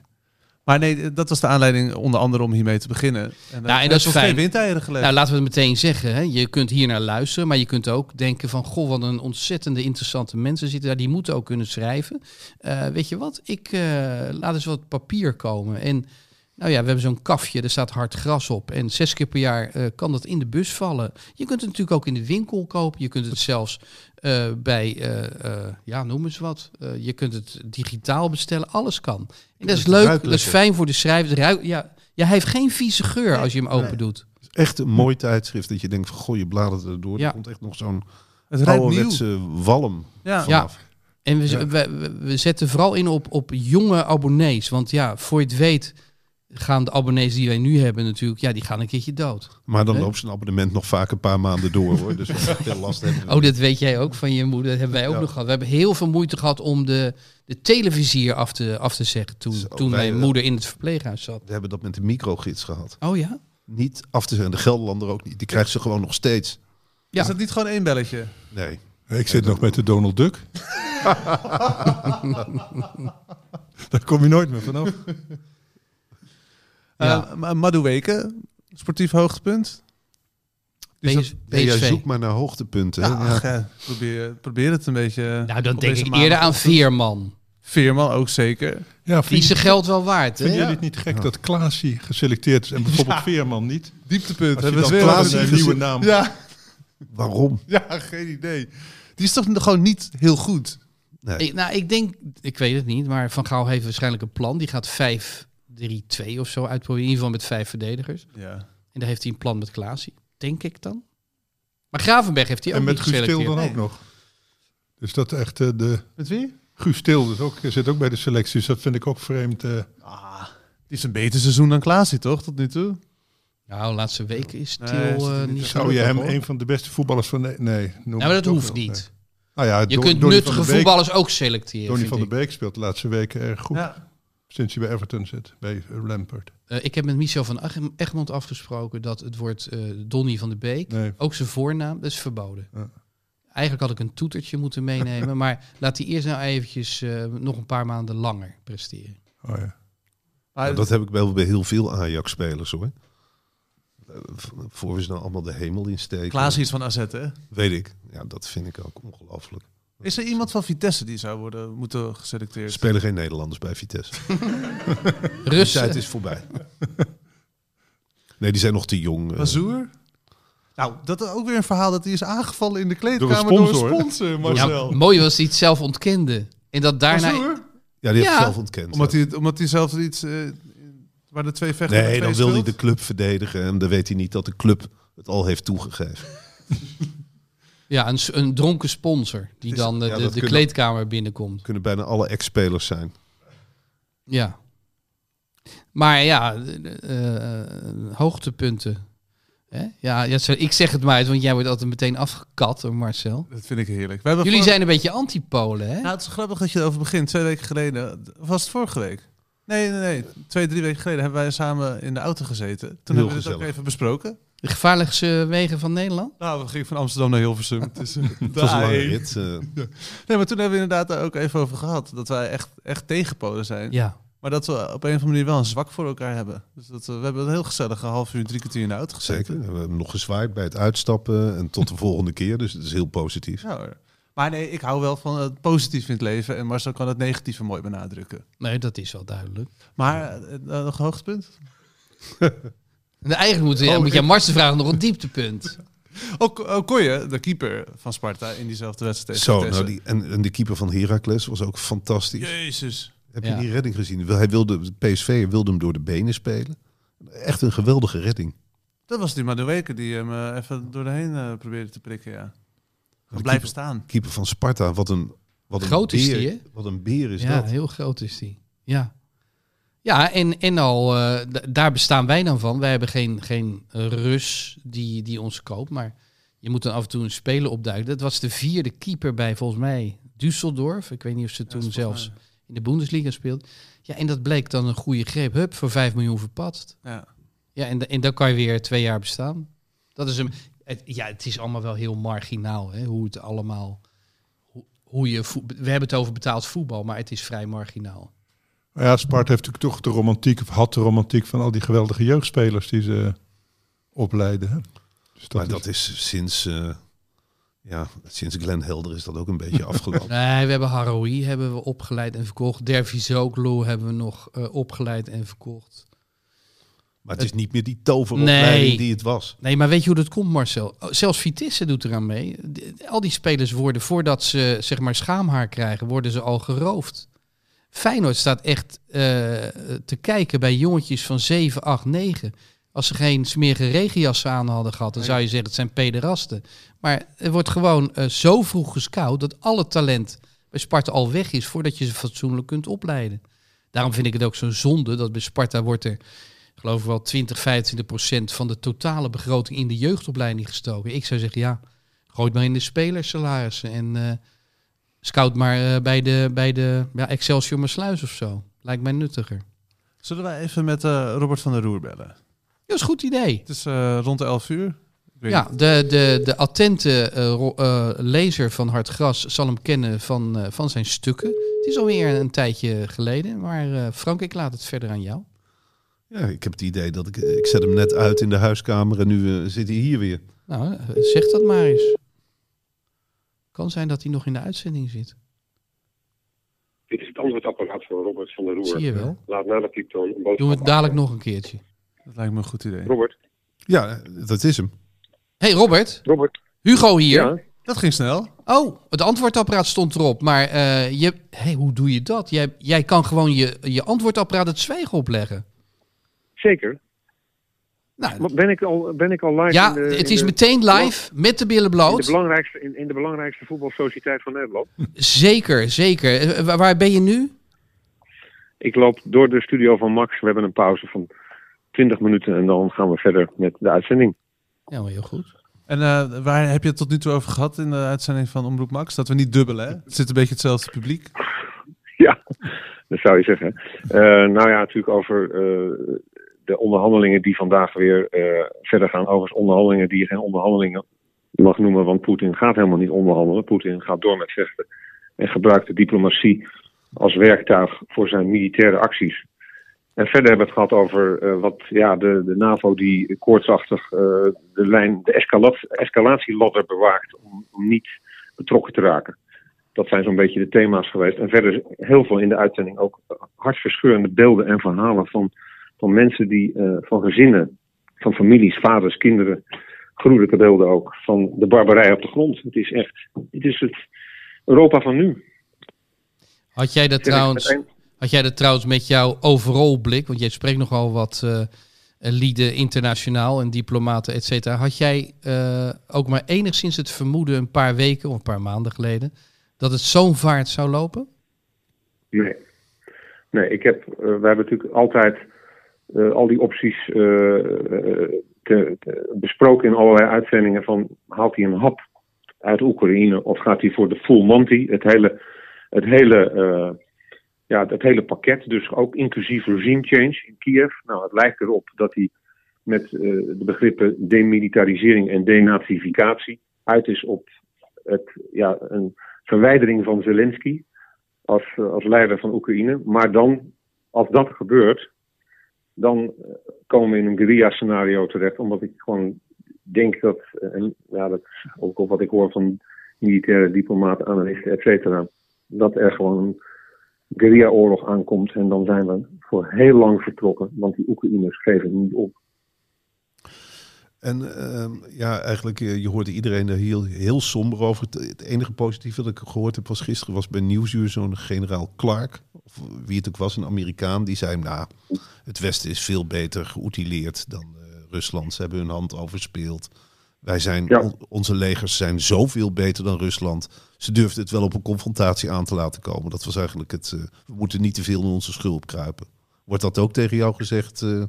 Speaker 2: Maar nee, dat was de aanleiding onder andere om hiermee te beginnen. En, eh,
Speaker 3: Nou, dat
Speaker 2: heeft
Speaker 3: is
Speaker 2: nog
Speaker 3: fijn.
Speaker 2: geen windeieren gelegd.
Speaker 3: Nou, laten we het meteen zeggen. Hè. Je kunt hier naar luisteren, maar je kunt ook denken van... goh, wat een ontzettende interessante mensen zitten daar. Die moeten ook kunnen schrijven. Eh, weet je wat? Ik eh, laat eens wat papier komen. En nou ja, we hebben zo'n kafje, daar staat hard gras op. En zes keer per jaar eh, kan dat in de bus vallen. Je kunt het natuurlijk ook in de winkel kopen. Je kunt het zelfs eh, bij, eh, eh, ja, noem eens wat. Eh, je kunt het digitaal bestellen. Alles kan. En dat is
Speaker 4: het
Speaker 3: leuk, dat
Speaker 4: ruikelijker.
Speaker 3: is fijn voor de schrijver. Het ruikt- ja, ja, hij heeft geen vieze geur als je hem open doet.
Speaker 4: Het is Echt een mooi tijdschrift dat je denkt van, goh, je bladert erdoor.
Speaker 3: Ja.
Speaker 4: Er komt echt nog zo'n
Speaker 2: het rijdt nieuw.
Speaker 4: ouderwetse walm
Speaker 2: Ja.
Speaker 4: vanaf.
Speaker 3: En we, we, we- we zetten vooral in op, op jonge abonnees. Want ja, voor je het weet gaan de abonnees die wij nu hebben natuurlijk, ja, die gaan een keertje dood.
Speaker 4: Maar dan
Speaker 3: Hè?
Speaker 4: loopt zijn abonnement nog vaak een paar maanden door hoor. Dus we gaan veel last hebben.
Speaker 3: Oh, dat weet jij ook van je moeder. Dat hebben wij ook
Speaker 4: Ja.
Speaker 3: nog gehad. We hebben heel veel moeite gehad om de, de televisier af te, af te zeggen toen,
Speaker 4: Zo,
Speaker 3: toen
Speaker 4: wij
Speaker 3: mijn
Speaker 4: wel.
Speaker 3: moeder in het verpleeghuis zat.
Speaker 4: We hebben dat met de microgids gehad.
Speaker 3: Oh ja?
Speaker 4: Niet af te zijn. De Gelderlander ook niet. Die krijgt ze gewoon nog steeds.
Speaker 3: Ja.
Speaker 2: Is dat niet gewoon één belletje?
Speaker 4: Nee.
Speaker 1: Ik zit nog met de Donald Duck. Daar kom je nooit meer vanaf.
Speaker 3: Ja.
Speaker 2: Eh, Ma- Madueke, sportief hoogtepunt. Die
Speaker 3: PS-
Speaker 2: zat-
Speaker 4: Dus Nee, jij
Speaker 3: PSV.
Speaker 4: zoekt maar naar hoogtepunten. hè?
Speaker 2: Ja,
Speaker 4: Ja.
Speaker 2: ach, ja, Ah, probeer, probeer het een beetje.
Speaker 3: Nou, dan
Speaker 2: op
Speaker 3: denk
Speaker 2: deze
Speaker 3: ik eerder aan
Speaker 2: maandagochtend.
Speaker 3: Veerman.
Speaker 2: Veerman ook zeker.
Speaker 1: Ja,
Speaker 3: Die is
Speaker 1: vind,
Speaker 3: zijn geld wel waard, hè?
Speaker 1: vinden jullie het niet gek dat Klaasie geselecteerd is en bijvoorbeeld Veerman niet?
Speaker 2: Dieptepunt.
Speaker 1: Als je
Speaker 2: Hebben we
Speaker 1: dan
Speaker 2: het weer
Speaker 1: Klaas
Speaker 2: over-
Speaker 1: een nieuwe naam.
Speaker 2: Ja,
Speaker 4: Waarom?
Speaker 2: ja, geen idee. Die is toch gewoon niet heel goed?
Speaker 3: Ik, nou, ik denk, ik weet het niet, maar Van Gaal heeft waarschijnlijk een plan. Die gaat 5-3-2 of zo uitproberen. In ieder geval met vijf verdedigers.
Speaker 2: Ja.
Speaker 3: En daar heeft hij een plan met Klaasie, denk ik dan. Maar Gravenberg heeft hij ook
Speaker 1: En met
Speaker 3: niet
Speaker 1: Guus Til
Speaker 3: geselecteerd.
Speaker 1: dan ook nog. Dus dat echt eh, de...
Speaker 2: Met wie?
Speaker 1: Guus Til dus ook, zit ook bij de selecties. Dat vind ik ook vreemd. eh.
Speaker 2: Ah, die is een beter seizoen dan Klaasie, toch? Tot nu toe.
Speaker 3: Nou, laatste week is
Speaker 2: Nee,
Speaker 3: Til
Speaker 2: hij zit er
Speaker 3: eh,
Speaker 2: niet
Speaker 3: niet
Speaker 2: echt
Speaker 3: zo...
Speaker 1: zou Oh, je hem
Speaker 2: hoor.
Speaker 1: een van de beste voetballers van... Nee, nee noem
Speaker 3: Nou, maar dat
Speaker 1: het ook
Speaker 3: hoeft
Speaker 1: wel.
Speaker 3: niet.
Speaker 1: Nee. Nou ja,
Speaker 3: Je
Speaker 1: Don-
Speaker 3: kunt
Speaker 1: Donny van
Speaker 3: nuttige
Speaker 1: der Beek-
Speaker 3: voetballers ook selecteren.
Speaker 1: Donny
Speaker 3: vind
Speaker 1: van der
Speaker 3: ik.
Speaker 1: Beek speelt de laatste weken erg goed.
Speaker 2: Ja.
Speaker 1: Sinds hij bij Everton zit, bij Lampert.
Speaker 3: Eh, ik heb met Michel van Ach- Egmond afgesproken dat het woord eh, Donny van der Beek,
Speaker 1: Nee.
Speaker 3: ook zijn voornaam, dat is verboden.
Speaker 1: Ja.
Speaker 3: Eigenlijk had ik een toetertje moeten meenemen, maar laat die eerst nou eventjes eh, nog een paar maanden langer presteren.
Speaker 1: Oh, ja.
Speaker 2: Maar
Speaker 4: Nou, dat heb ik wel bij heel veel Ajax-spelers hoor. Eh, v- Voor we ze nou allemaal de hemel insteken.
Speaker 2: Klaasie is van AZ, hè?
Speaker 4: Weet ik. Ja, dat vind ik ook ongelooflijk.
Speaker 2: Is er iemand van Vitesse die zou worden moeten geselecteerd?
Speaker 4: Er spelen geen Nederlanders bij Vitesse.
Speaker 2: Dus,
Speaker 4: De
Speaker 3: Russen,
Speaker 2: eh,
Speaker 4: tijd is voorbij. Nee, die zijn nog te jong. eh.
Speaker 2: Bazoer? Nou, dat is ook weer een verhaal dat hij is aangevallen in de kleedkamer
Speaker 1: Door
Speaker 2: door
Speaker 1: een
Speaker 2: een sponsor,
Speaker 1: sponsor.
Speaker 3: ja,
Speaker 2: Marcel.
Speaker 3: mooi was dat hij het zelf ontkende. En dat daarna...
Speaker 4: nou,
Speaker 2: Bazoer?
Speaker 4: Ja, die heeft
Speaker 3: Ja.
Speaker 4: het zelf ontkend.
Speaker 2: Omdat
Speaker 4: ja.
Speaker 2: hij, het- omdat hij zelf iets... eh, waar de twee vechten...
Speaker 4: Nee, dan wil hij de
Speaker 2: de...
Speaker 4: club verdedigen. En dan weet hij niet dat de club het al heeft toegegeven.
Speaker 3: Ja, een, s- een dronken sponsor die
Speaker 4: Het is-
Speaker 3: dan eh,
Speaker 4: ja,
Speaker 3: de,
Speaker 4: dat
Speaker 3: de
Speaker 4: kunnen-
Speaker 3: kleedkamer binnenkomt.
Speaker 4: Het kunnen bijna alle ex-spelers zijn.
Speaker 3: Ja. Maar ja, eh, eh, hoogtepunten. Hè? Ja, ja, zo- ik zeg het maar uit, want jij wordt altijd meteen afgekat door Marcel.
Speaker 2: Dat vind ik heerlijk. Wij hebben
Speaker 3: Jullie
Speaker 2: vor-
Speaker 3: zijn een beetje antipolen, hè?
Speaker 2: Nou, het is grappig dat je erover begint. Twee weken geleden... Of was het vorige week? Nee, nee, nee. Twee, drie weken geleden hebben wij samen in de auto gezeten. Toen hebben we dit
Speaker 4: gezellig.
Speaker 2: ook even besproken.
Speaker 3: De gevaarlijkste wegen van Nederland?
Speaker 2: Nou, we gingen van Amsterdam naar Hilversum. Het is eh, een
Speaker 4: Het was een lange
Speaker 2: Nee,
Speaker 4: rit. eh.
Speaker 2: maar toen hebben we inderdaad daar ook even over gehad. Dat wij echt, echt tegenpolen zijn.
Speaker 3: Ja.
Speaker 2: Maar dat we op een of andere manier wel een zwak voor elkaar hebben. Dus dat we, we hebben een heel gezellige half uur, drie kwartier in de auto gezeten.
Speaker 4: Zeker. We hebben hem nog gezwaaid bij het uitstappen. En tot de volgende keer. Dus het is heel positief.
Speaker 2: Ja hoor. Maar nee, ik hou wel van het positieve in het leven. En Marcel kan het negatieve mooi benadrukken.
Speaker 3: Nee, dat is wel duidelijk.
Speaker 2: Maar eh, eh, nog een hoogtepunt?
Speaker 3: En eigenlijk moet,
Speaker 2: Oh,
Speaker 3: ja, moet jij Marcel vragen nog een dieptepunt.
Speaker 2: Ook ook Oh, Koye, de keeper van Sparta, in diezelfde wedstrijd tegen
Speaker 4: Zo,
Speaker 2: Vitesse.
Speaker 4: nou die, en, en de keeper van Heracles was ook fantastisch.
Speaker 2: Jezus.
Speaker 4: Heb
Speaker 3: Ja.
Speaker 4: je die redding gezien? Wel, Hij wilde, de PSV wilde hem door de benen spelen. Echt een geweldige redding.
Speaker 2: Dat was die Madueke die hem eh, even door de heen eh, probeerde te prikken, ja.
Speaker 4: keeper-
Speaker 2: Blijven staan.
Speaker 4: Keeper van Sparta, wat een, wat een
Speaker 3: Groot is
Speaker 4: beer,
Speaker 3: die, hè?
Speaker 4: Wat een beer is
Speaker 3: Ja,
Speaker 4: dat.
Speaker 3: heel groot is die. Ja. Ja, en, en al, eh, d- daar bestaan wij dan van. Wij hebben geen, geen eh, Rus die, die ons koopt, maar je moet dan af en toe een speler opduiken. Dat was de vierde keeper bij volgens mij Düsseldorf. Ik weet niet of ze toen
Speaker 2: Ja,
Speaker 3: zelfs
Speaker 2: volgens mij.
Speaker 3: in de Bundesliga speelt. Ja, en dat bleek dan een goede greep. Hup, voor 5 miljoen verpatst.
Speaker 2: Ja.
Speaker 3: Ja, en, da- en dan kan je weer twee jaar bestaan. Dat is een, het, ja, het is allemaal wel heel marginaal, hè, hoe het allemaal... hoe- Hoe je voet- we hebben het over betaald voetbal, maar het is vrij marginaal.
Speaker 1: Maar ja, Sparta heeft natuurlijk toch de romantiek, of had de romantiek van al die geweldige jeugdspelers die ze opleiden. Hè? Dus
Speaker 4: maar dat is sinds, eh, ja, sinds Glenn Helder is dat ook een beetje afgelopen.
Speaker 3: Nee, we hebben Haroui hebben we opgeleid en verkocht. Dervizoglu hebben we nog eh, opgeleid en verkocht.
Speaker 4: Maar het is niet meer die toveropleiding
Speaker 3: Nee.
Speaker 4: die het was.
Speaker 3: Nee, maar weet je hoe dat komt, Marcel? Oh, Zelfs Vitesse doet eraan mee. D- Al die spelers worden, voordat ze zeg maar schaamhaar krijgen, worden ze al geroofd. Feyenoord staat echt eh, te kijken bij jongetjes van 7, 8, 9. Als ze geen smerige regenjassen aan hadden gehad, dan zou je zeggen het zijn pederasten. Maar er wordt gewoon eh, zo vroeg gescout dat alle talent bij Sparta al weg is voordat je ze fatsoenlijk kunt opleiden. Daarom vind ik het ook zo'n zonde dat bij Sparta wordt er, geloof ik wel, 20, 25 procent van de totale begroting in de jeugdopleiding gestoken. Ik zou zeggen, ja, gooi het maar in de spelersalarissen en eh, scout maar eh, bij de, bij de ja, Excelsior Maasluis of zo. Lijkt mij nuttiger.
Speaker 2: Zullen wij even met eh, Robert van der Roer bellen?
Speaker 3: Ja, is een goed idee.
Speaker 2: Het is eh, rond 11 uur. Ik weet
Speaker 3: Ja,
Speaker 2: niet.
Speaker 3: de, de, de attente eh, ro- eh, lezer van Hard Gras zal hem kennen van, eh, van zijn stukken. Het is alweer een tijdje geleden, maar eh, Frank, ik laat het verder aan jou.
Speaker 4: Ja, ik heb het idee dat ik... Ik zet hem net uit in de huiskamer en nu eh, zit hij hier weer.
Speaker 3: Nou, eh, zeg dat maar eens. Kan zijn dat hij nog in de uitzending zit.
Speaker 6: Dit is het antwoordapparaat van Robert van der Roer.
Speaker 3: Zie je wel.
Speaker 6: Laat na de pieptoon een
Speaker 3: Doen we
Speaker 6: boodschap.
Speaker 3: het dadelijk nog een keertje.
Speaker 2: Dat lijkt me een goed idee.
Speaker 6: Robert,
Speaker 4: Ja, dat is hem.
Speaker 3: hey Robert,
Speaker 6: Robert.
Speaker 3: Hugo hier.
Speaker 6: Ja?
Speaker 2: Dat ging snel.
Speaker 3: Oh, het antwoordapparaat stond erop. Maar eh, je, hey, hoe doe je dat? Jij, jij kan gewoon je, je antwoordapparaat het zwijgen opleggen.
Speaker 6: Zeker.
Speaker 3: Nou,
Speaker 6: Maar Ben ik al, ben ik al live?
Speaker 3: ja,
Speaker 6: in de, in
Speaker 3: het is
Speaker 6: de-
Speaker 3: meteen live met de billen
Speaker 6: In de,
Speaker 3: bloot.
Speaker 6: belangrijkste, in, in de belangrijkste voetbalsociëteit van Nederland.
Speaker 3: Zeker, zeker. Eh, wa- Waar ben je nu?
Speaker 6: Ik loop door de studio van Max. We hebben een pauze van 20 minuten en dan gaan we verder met de uitzending.
Speaker 3: Ja, maar heel goed.
Speaker 2: En eh, waar heb je het tot nu toe over gehad in de uitzending van Omroep Max? Dat we niet dubbelen, hè? Het zit een beetje hetzelfde publiek.
Speaker 6: Ja, dat zou je zeggen. Eh, nou ja, natuurlijk over eh, de onderhandelingen die vandaag weer eh, verder gaan. Overigens onderhandelingen die je geen onderhandelingen mag noemen, want Poetin gaat helemaal niet onderhandelen. Poetin gaat door met vechten en gebruikt de diplomatie als werktuig voor zijn militaire acties. En verder hebben we het gehad over eh, wat ja, de, de NAVO die koortsachtig eh, de lijn, de escalat, escalatieladder bewaakt om, om niet betrokken te raken dat zijn zo'n beetje de thema's geweest. En verder heel veel in de uitzending ook hartverscheurende beelden en verhalen van, van mensen die, eh, van gezinnen, van families, vaders, kinderen. Gruwelijke beelden ook van de barbarij op de grond. Het is echt, het is het Europa van nu.
Speaker 3: Had jij dat
Speaker 6: Zeg ik
Speaker 3: trouwens...
Speaker 6: meteen.
Speaker 3: Had jij dat trouwens met jouw overal blik, want jij spreekt nogal wat eh, lieden internationaal en diplomaten, et cetera. Had jij eh, ook maar enigszins het vermoeden een paar weken of een paar maanden geleden dat het zo'n vaart zou lopen?
Speaker 6: Nee. Nee, ik heb, eh, we hebben natuurlijk altijd eh, al die opties eh, eh, te- te- besproken in allerlei uitzendingen van haalt hij een hap uit Oekraïne of gaat hij voor de full monty, het hele, het hele, eh, ja, het hele pakket, dus ook inclusief regime change in Kiev. Nou, het lijkt erop dat hij met eh, de begrippen demilitarisering en denazificatie uit is op het, ja, een verwijdering van Zelensky als, eh, als leider van Oekraïne. Maar dan, als dat gebeurt, dan eh, komen we in een guerrilla-scenario terecht. Omdat ik gewoon denk dat, eh, en ja, dat is ook op wat ik hoor van militaire diplomaten, analisten, et cetera, dat er gewoon een guerrilla-oorlog aankomt. En dan zijn we voor heel lang vertrokken, want die Oekraïners geven niet op.
Speaker 4: En ehm, ja, eigenlijk, eh, je hoorde iedereen er heel, heel somber over. Het, het enige positieve dat ik gehoord heb was gisteren was bij Nieuwsuur zo'n generaal Clark, of wie het ook was, een Amerikaan, die zei, nou, het Westen is veel beter geoutileerd dan eh, Rusland. Ze hebben hun hand overspeeld. Wij zijn,
Speaker 6: Ja.
Speaker 4: on- onze legers zijn zoveel beter dan Rusland. Ze durfden het wel op een confrontatie aan te laten komen. Dat was eigenlijk het, eh, we moeten niet te veel in onze schulp kruipen. Wordt dat ook tegen jou gezegd eh, in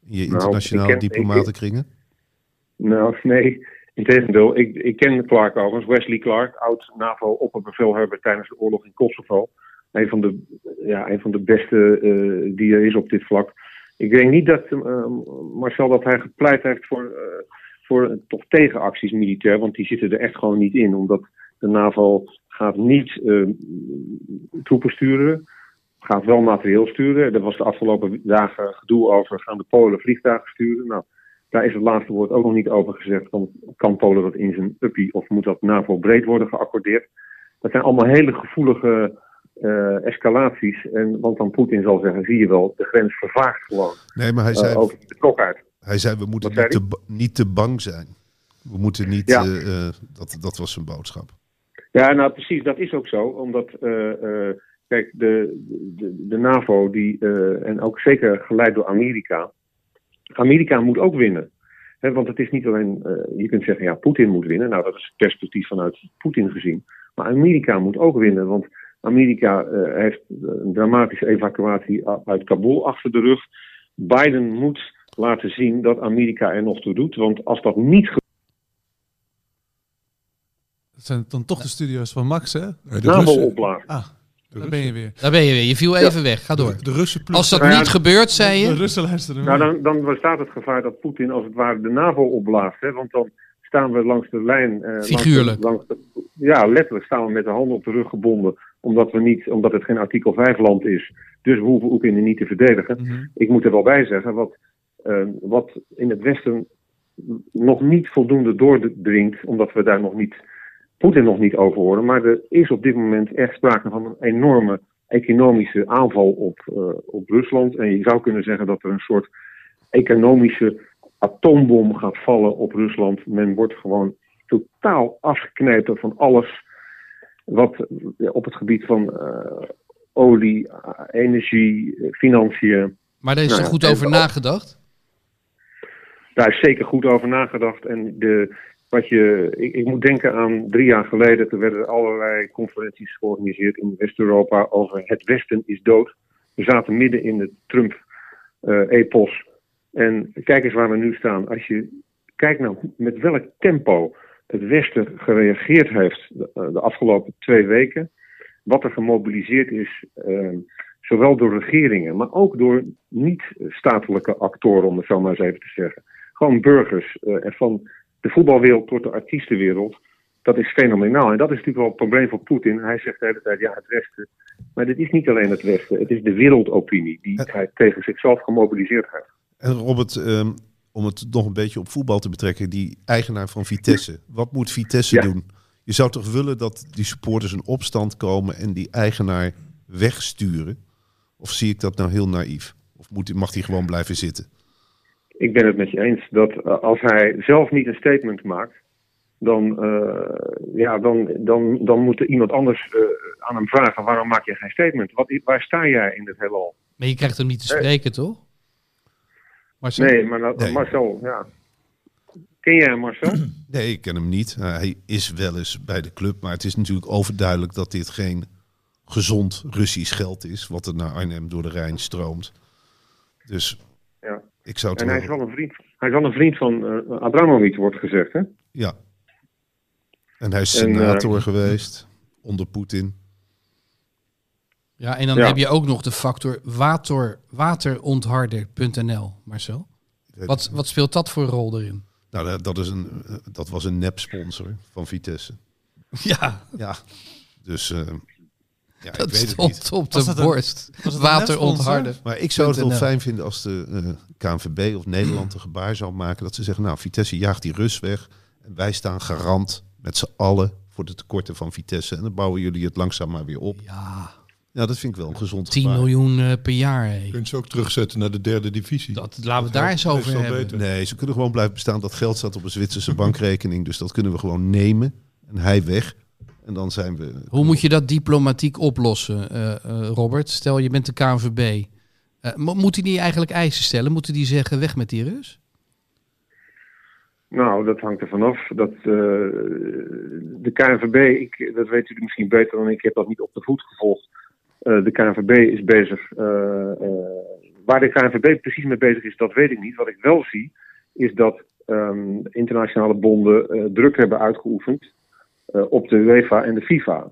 Speaker 4: je
Speaker 6: ik
Speaker 4: internationale
Speaker 6: ken- Nou, ik-
Speaker 4: diplomatenkringen?
Speaker 6: Nou, nee. Integendeel, ik, ik ken Clark overigens, Wesley Clark, oud NAVO-opperbevelhebber tijdens de oorlog in Kosovo. Een van de, ja, een van de beste eh, die er is op dit vlak. Ik denk niet dat eh, Marcel dat hij gepleit heeft voor, eh, voor eh, toch tegenacties militair, want die zitten er echt gewoon niet in, omdat de NAVO gaat niet eh, troepen sturen, gaat wel materieel sturen. Er was de afgelopen dagen gedoe over, gaan de Polen vliegtuigen sturen? Nou, daar is het laatste woord ook nog niet over gezegd. Want kan Polen dat in zijn uppie of moet dat NAVO breed worden geaccordeerd? Dat zijn allemaal hele gevoelige eh, escalaties. En, want dan Poetin zal zeggen, zie je wel, de grens vervaagt gewoon
Speaker 4: Nee, maar hij
Speaker 6: eh,
Speaker 4: zei,
Speaker 6: over de klok uit.
Speaker 4: hij zei we moeten
Speaker 6: Wat
Speaker 4: niet
Speaker 6: zei
Speaker 4: te, ba- niet te bang zijn. We moeten niet,
Speaker 6: Ja.
Speaker 4: eh, eh, dat, dat was zijn boodschap.
Speaker 6: Ja, nou precies, dat is ook zo. Omdat, eh, eh, kijk, de, de, de NAVO, die, eh, en ook zeker geleid door Amerika, Amerika moet ook winnen. Hè, want het is niet alleen, eh, je kunt zeggen, ja, Poetin moet winnen. Nou, dat is het perspectief vanuit Poetin gezien. Maar Amerika moet ook winnen, want Amerika eh, heeft een dramatische evacuatie a- uit Kabul achter de rug. Biden moet laten zien dat Amerika er nog toe doet. Want als dat niet gebeurt.
Speaker 2: Dat zijn dan toch de studio's van Max, hè?
Speaker 1: Nee, de,
Speaker 6: NAVO
Speaker 1: Russen,
Speaker 6: opblaag.
Speaker 2: Ah, daar ben je weer.
Speaker 3: Daar ben je weer. Je viel even weg. Ga door.
Speaker 1: de Russen ploeg-
Speaker 3: Als dat
Speaker 6: Nou ja,
Speaker 3: niet gebeurt, zei
Speaker 2: De
Speaker 3: je.
Speaker 2: Russen luisteren
Speaker 6: Nou,
Speaker 2: mee.
Speaker 6: dan, dan bestaat het gevaar dat Poetin als het ware de NAVO opblaast. Hè? Want dan staan we langs de lijn. eh, langs de-
Speaker 3: Figuurlijk.
Speaker 6: Langs de, ja, letterlijk staan we met de handen op de rug gebonden. Omdat, we niet, omdat het geen artikel 5 land is. Dus we hoeven Oekraïne niet te verdedigen.
Speaker 2: Mhm.
Speaker 6: Ik moet er wel bij zeggen, wat, eh, wat in het Westen nog niet voldoende doordringt. Omdat we daar nog niet, Poetin nog niet over horen. Maar er is op dit moment echt sprake van een enorme economische aanval op, eh, op Rusland. En je zou kunnen zeggen dat er een soort economische atoombom gaat vallen op Rusland. Men wordt gewoon totaal afgeknepen van alles wat eh, op het gebied van eh, olie, eh, energie, eh, financiën.
Speaker 3: Maar daar is
Speaker 6: Nou
Speaker 3: er
Speaker 6: ja,
Speaker 3: goed
Speaker 6: en-
Speaker 3: over nagedacht.
Speaker 6: Daar is zeker goed over nagedacht. En de, wat je, ik, ik moet denken aan drie jaar geleden. Toen werden er allerlei conferenties georganiseerd in West-Europa over het Westen is dood. We zaten midden in het Trump-epos. en kijk eens waar we nu staan. Als je kijkt naar hoe- met welk tempo het Westen gereageerd heeft de, eh, de afgelopen twee weken. Wat er gemobiliseerd is, eh, zowel door regeringen, maar ook door niet-statelijke actoren, om het zo maar eens even te zeggen. Gewoon burgers. eh, en van de voetbalwereld tot de artiestenwereld. Dat is fenomenaal. En dat is natuurlijk wel het probleem voor Poetin. Hij zegt de hele tijd, ja, het Westen. Maar dit is niet alleen het Westen. Het is de wereldopinie die hij tegen zichzelf gemobiliseerd heeft.
Speaker 4: En Robert, ehm, om het nog een beetje op voetbal te betrekken, die eigenaar van Vitesse. Wat moet Vitesse
Speaker 6: Ja.
Speaker 4: doen? Je zou toch willen dat die supporters in opstand komen en die eigenaar wegsturen? Of zie ik dat nou heel naïef? Of moet, mag die gewoon blijven zitten?
Speaker 6: Ik ben het met je eens dat eh, als hij zelf niet een statement maakt, dan, eh, ja, dan, dan, dan moet er iemand anders eh, aan hem vragen: waarom maak je geen statement? Wat, waar sta jij in dit heelal?
Speaker 3: Maar je krijgt hem niet te spreken, toch? Marcel?
Speaker 6: Nee, maar nou,
Speaker 4: Nee.
Speaker 6: Marcel, ja. Ken jij hem, Marcel?
Speaker 4: Nee, ik ken hem niet. Nou, hij is wel eens bij de club, maar het is natuurlijk overduidelijk dat dit geen gezond Russisch geld is, wat er naar Arnhem door de Rijn stroomt. Dus
Speaker 6: Ja.
Speaker 4: ik zou het
Speaker 6: En hij is
Speaker 4: wel-
Speaker 6: wel een vriend, hij is wel een vriend van eh, Abramovic, wordt gezegd. Hè?
Speaker 4: Ja. En hij is
Speaker 6: En, eh,
Speaker 4: senator geweest onder Poetin.
Speaker 3: Ja, en dan
Speaker 6: Ja.
Speaker 3: heb je ook nog de factor water, waterontharder.nl, Marcel. Wat, wat speelt dat voor rol erin?
Speaker 4: Nou, dat, dat, is een, eh, dat was een nep-sponsor van Vitesse.
Speaker 3: Ja,
Speaker 4: Ja. Dus eh, ja, ik
Speaker 3: dat
Speaker 4: weet het niet.
Speaker 3: stond op de
Speaker 2: dat een-
Speaker 3: borst.
Speaker 2: was dat een
Speaker 3: Waterontharder.
Speaker 4: Maar ik zou het wel
Speaker 3: .nl.
Speaker 4: fijn vinden als de eh, KNVB of Nederland een gebaar zou maken. Dat ze zeggen, nou, Vitesse jaagt die Rus weg. En wij staan garant met z'n allen voor de tekorten van Vitesse. En dan bouwen jullie het langzaam maar weer op.
Speaker 3: Ja,
Speaker 4: Ja, dat vind ik wel een gezond
Speaker 3: 10
Speaker 4: gebaar.
Speaker 3: miljoen eh, per jaar. hé.
Speaker 1: Je kunt ze ook terugzetten naar de derde divisie.
Speaker 3: Dat, laten we daar eens
Speaker 1: helpt
Speaker 3: over
Speaker 1: meestal
Speaker 3: hebben.
Speaker 1: beter.
Speaker 4: Nee, ze kunnen gewoon blijven bestaan. Dat geld staat op een Zwitserse bankrekening. Dus dat kunnen we gewoon nemen. En hij weg. En dan zijn we...
Speaker 3: Hoe moet je dat diplomatiek oplossen, eh, eh, Robert? Stel, je bent de KNVB. Eh, mo- moeten die eigenlijk eisen stellen? Moeten die zeggen, weg met die Rus?
Speaker 6: Nou, dat hangt er vanaf. Dat, eh, de KNVB, ik, dat weten jullie misschien beter dan ik, ik heb dat niet op de voet gevolgd. Eh, de KNVB is bezig. eh, eh, waar de KNVB precies mee bezig is, dat weet ik niet. Wat ik wel zie, is dat ehm, internationale bonden eh, druk hebben uitgeoefend eh, op de UEFA en de FIFA.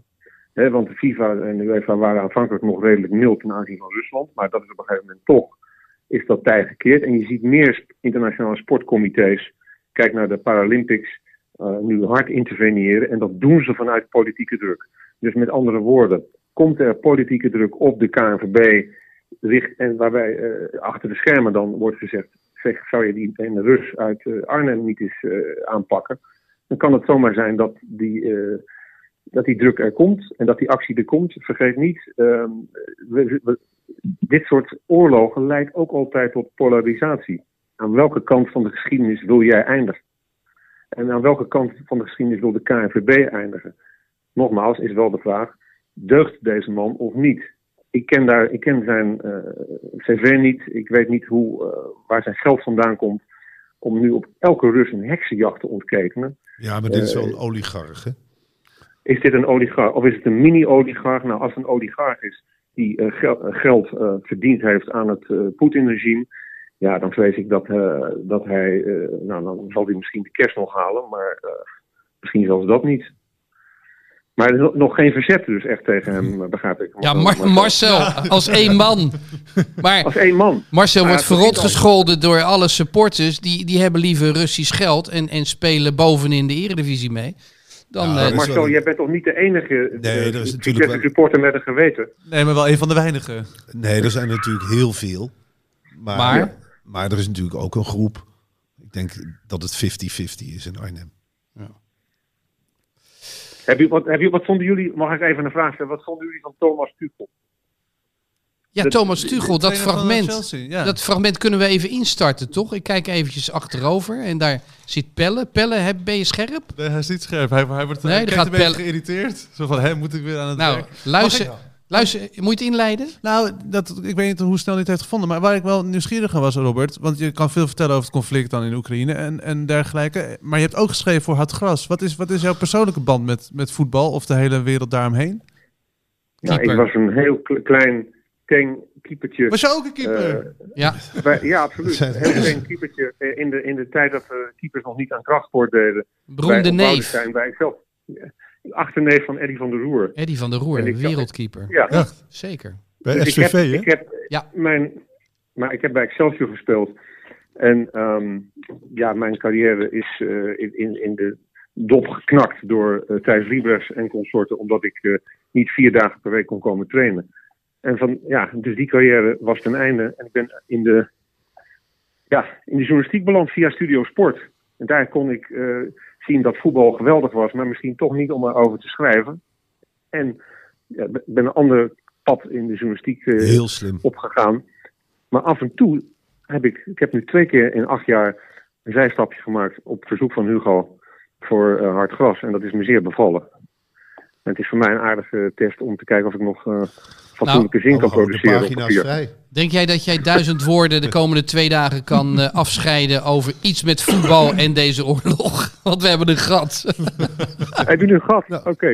Speaker 6: Hè, want de FIFA en de UEFA waren aanvankelijk nog redelijk mild ten aanzien van Rusland, maar dat is op een gegeven moment toch is dat tij gekeerd. En je ziet meer sp- internationale sportcomité's kijk naar de Paralympics, eh, nu hard interveneren. En dat doen ze vanuit politieke druk. Dus met andere woorden, komt er politieke druk op de KNVB, richt, en waarbij eh, achter de schermen dan wordt gezegd, zeg, zou je die ene Rus uit eh, Arnhem niet eens eh, aanpakken? Dan kan het zomaar zijn dat die, eh, dat die druk er komt en dat die actie er komt. Vergeet niet, ehm, we- we- dit soort oorlogen leidt ook altijd tot polarisatie aan welke kant van de geschiedenis wil jij eindigen? En aan welke kant van de geschiedenis wil de KNVB eindigen? Nogmaals, is wel de vraag: deugt deze man of niet? Ik ken, daar, ik ken zijn eh, cv niet. Ik weet niet hoe, eh, waar zijn geld vandaan komt. Om nu op elke Rus een heksenjacht te ontketenen.
Speaker 4: eh, Ja, maar dit is wel een oligarch, hè?
Speaker 6: Is dit een oligarch of is het een mini-oligarch? Nou, als het een oligarch is die eh, gel- eh, geld eh, verdiend heeft aan het eh Poetin-regime, ja, dan vrees ik dat, eh, dat hij, eh, nou, dan zal hij misschien de kerst nog halen, maar eh, misschien zelfs dat niet. Maar er is nog- nog geen verzet dus echt tegen hem, eh, begrijp ik.
Speaker 3: Ja, Mar- Marcel, als één man.
Speaker 6: Als
Speaker 3: Maar
Speaker 6: één man.
Speaker 3: Marcel
Speaker 6: Ja,
Speaker 3: wordt
Speaker 6: dat is
Speaker 3: verrot
Speaker 6: dan-
Speaker 3: gescholden door alle supporters. Die, die hebben liever Russisch geld en, en spelen bovenin de eredivisie mee. Dan,
Speaker 4: Ja,
Speaker 3: eh,
Speaker 4: maar-
Speaker 6: Marcel, jij bent toch niet de enige eh,
Speaker 4: Nee, dat is natuurlijk
Speaker 6: Vitesse
Speaker 4: wel-
Speaker 6: supporter met een geweten?
Speaker 2: Nee, maar wel een van de weinigen.
Speaker 4: Nee, er zijn natuurlijk heel veel. Maar,
Speaker 3: Maar?
Speaker 4: maar? er is natuurlijk ook een groep. Ik denk dat het 50-50 is in Arnhem.
Speaker 6: Heb je, wat, heb je, wat vonden jullie, mag ik even een vraag stellen, wat vonden jullie van Thomas Tuchel?
Speaker 3: ja,
Speaker 6: dat-
Speaker 3: Thomas Tuchel, dat
Speaker 2: Trainer van, eh,
Speaker 3: fragment.
Speaker 2: Chelsea, ja.
Speaker 3: Dat fragment kunnen we even instarten, toch? Ik kijk eventjes achterover en daar zit Pelle. Pelle, heb, ben je scherp?
Speaker 2: Nee, hij is niet scherp. Hij, hij wordt
Speaker 3: Nee,
Speaker 2: hij
Speaker 3: er
Speaker 2: krijgt
Speaker 3: gaat
Speaker 2: een beetje
Speaker 3: pellen.
Speaker 2: geïrriteerd. Zo van, hè, moet ik weer aan het
Speaker 3: Nou,
Speaker 2: werk? Oh,
Speaker 3: luister, luister, moet je het inleiden?
Speaker 2: Nou, dat, ik weet niet hoe snel hij het heeft gevonden. Maar waar ik wel nieuwsgierig aan was, Robert. Want je kan veel vertellen over het conflict dan in Oekraïne en, en dergelijke. Maar je hebt ook geschreven voor Hard Gras. Wat is, wat is jouw persoonlijke band met, met voetbal of de hele wereld daaromheen?
Speaker 6: Nou, ik
Speaker 3: Keeper.
Speaker 6: was een heel kle- klein, teng keepertje.
Speaker 2: Was je ook een keeper?
Speaker 3: Ja.
Speaker 6: Wij- ja, absoluut. Een heel klein keepertje. Eh, In de, in de tijd dat de keepers nog niet aan krachtsport deden.
Speaker 3: Beroemde
Speaker 6: bij
Speaker 3: neef.
Speaker 6: Zijn, bij zelf. De Achterneef van Eddie van der Roer.
Speaker 3: Eddie van der
Speaker 6: En
Speaker 3: Roer,
Speaker 6: ik-
Speaker 3: wereldkeeper.
Speaker 6: Ja,
Speaker 3: Zeker.
Speaker 1: Bij
Speaker 6: Dus
Speaker 1: SVV,
Speaker 6: ik heb,
Speaker 1: hè?
Speaker 6: ik heb,
Speaker 3: Ja.
Speaker 6: mijn, maar ik heb bij Excelsior gespeeld. En ehm, ja, mijn carrière is eh, in, in, in de dop geknakt door eh, Thijs Liebers en consorten. Omdat ik eh, niet vier dagen per week kon komen trainen. En van, ja, dus die carrière was ten einde. En ik ben in de, ja, in de journalistiek beland via Studio Sport. En daar kon ik eh, zien dat voetbal geweldig was. Maar misschien toch niet om erover te schrijven. En ja, ik ben een ander pad in de journalistiek eh,
Speaker 4: Heel slim.
Speaker 6: opgegaan. Maar af en toe heb ik, ik heb nu twee keer in acht jaar een zijstapje gemaakt op verzoek van Hugo voor eh, hard gras. En dat is me zeer bevallen. En het is voor mij een aardige test om te kijken of ik nog eh fatsoenlijke
Speaker 3: Nou,
Speaker 6: zin kan
Speaker 4: Hou gewoon de
Speaker 6: produceren op
Speaker 4: pagina's
Speaker 6: papier.
Speaker 4: vrij.
Speaker 3: Denk jij dat jij duizend woorden de komende twee dagen kan eh, afscheiden over iets met voetbal en deze oorlog? Want we hebben een gat.
Speaker 6: Heb je nu een gat? Oké.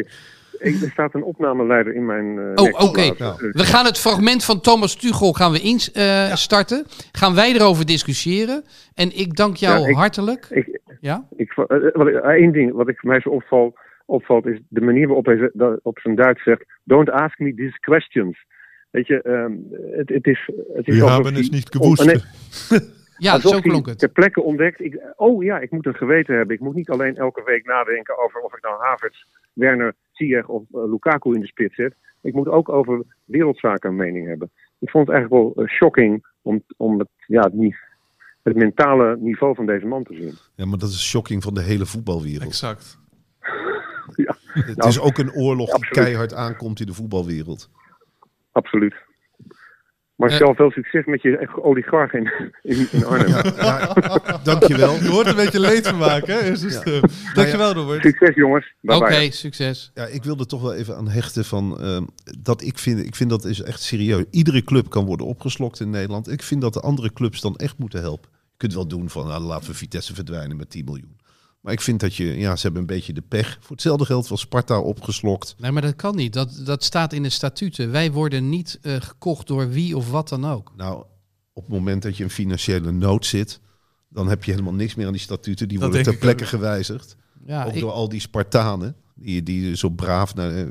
Speaker 6: Ik- Er staat een opnameleider in mijn. eh,
Speaker 3: Nou. Oh,
Speaker 6: nek.
Speaker 3: oké. We gaan het fragment van Thomas Tuchel gaan we instarten. Gaan wij erover discussiëren. En ik dank jou
Speaker 6: Ja, ik-
Speaker 3: hartelijk.
Speaker 6: Ik,
Speaker 3: Ja?
Speaker 6: ik, eh, wat, ik- eh, één ding wat ik, mij zo opvalt, opvalt is de manier waarop hij ze- dat- op zijn Duits zegt: Don't ask me these questions. Weet je, ehm, het, het is. Het is
Speaker 1: Die
Speaker 6: alsof
Speaker 1: hebben
Speaker 6: hij-
Speaker 1: is niet gewoest.
Speaker 6: Oh, nee,
Speaker 3: ja,
Speaker 6: alsof
Speaker 3: zo
Speaker 6: hij
Speaker 3: klonk het.
Speaker 6: ter plekke ontdekt. Ik, oh ja, ik moet een geweten hebben. Ik moet niet alleen elke week nadenken over of ik nou Havertz, Werner, Ziyech of eh, Lukaku in de spits zet. Ik moet ook over wereldzaken een mening hebben. Ik vond het eigenlijk wel eh, shocking om, om het, ja, het, ni- het mentale niveau van deze man te zien.
Speaker 4: Ja, maar dat is shocking van de hele voetbalwereld.
Speaker 2: Exact.
Speaker 4: Het is ook een oorlog die keihard aankomt in de voetbalwereld.
Speaker 6: Absoluut. Marcel, veel succes met je oligarch in, in, in Arnhem.
Speaker 4: Dankjewel. Nou
Speaker 2: Je hoort een beetje leedvermaak, hè? Is het, eh, Dankjewel, Robert.
Speaker 6: Succes jongens. Bye
Speaker 3: Oké,
Speaker 6: bye.
Speaker 3: succes.
Speaker 4: Ja, ik wil er toch wel even aan hechten van ehm, dat ik vind, ik vind dat is echt serieus. Iedere club kan worden opgeslokt in Nederland. Ik vind dat de andere clubs dan echt moeten helpen. Je kunt wel doen van nou, laten we Vitesse verdwijnen met 10 miljoen. Maar ik vind dat je, ja, ze hebben een beetje de pech. Voor hetzelfde geld was Sparta opgeslokt.
Speaker 3: Nee, maar dat kan niet. Dat, dat staat in de statuten. Wij worden niet eh, gekocht door wie of wat dan ook.
Speaker 4: Nou, op het moment dat je in financiële nood zit, dan heb je helemaal niks meer aan die statuten. Die
Speaker 2: Dat
Speaker 4: worden ter
Speaker 2: denk ik ook.
Speaker 4: plekke gewijzigd.
Speaker 3: Ja,
Speaker 4: ook
Speaker 3: ik-
Speaker 4: door al die Spartanen, die, die zo braaf naar, eh,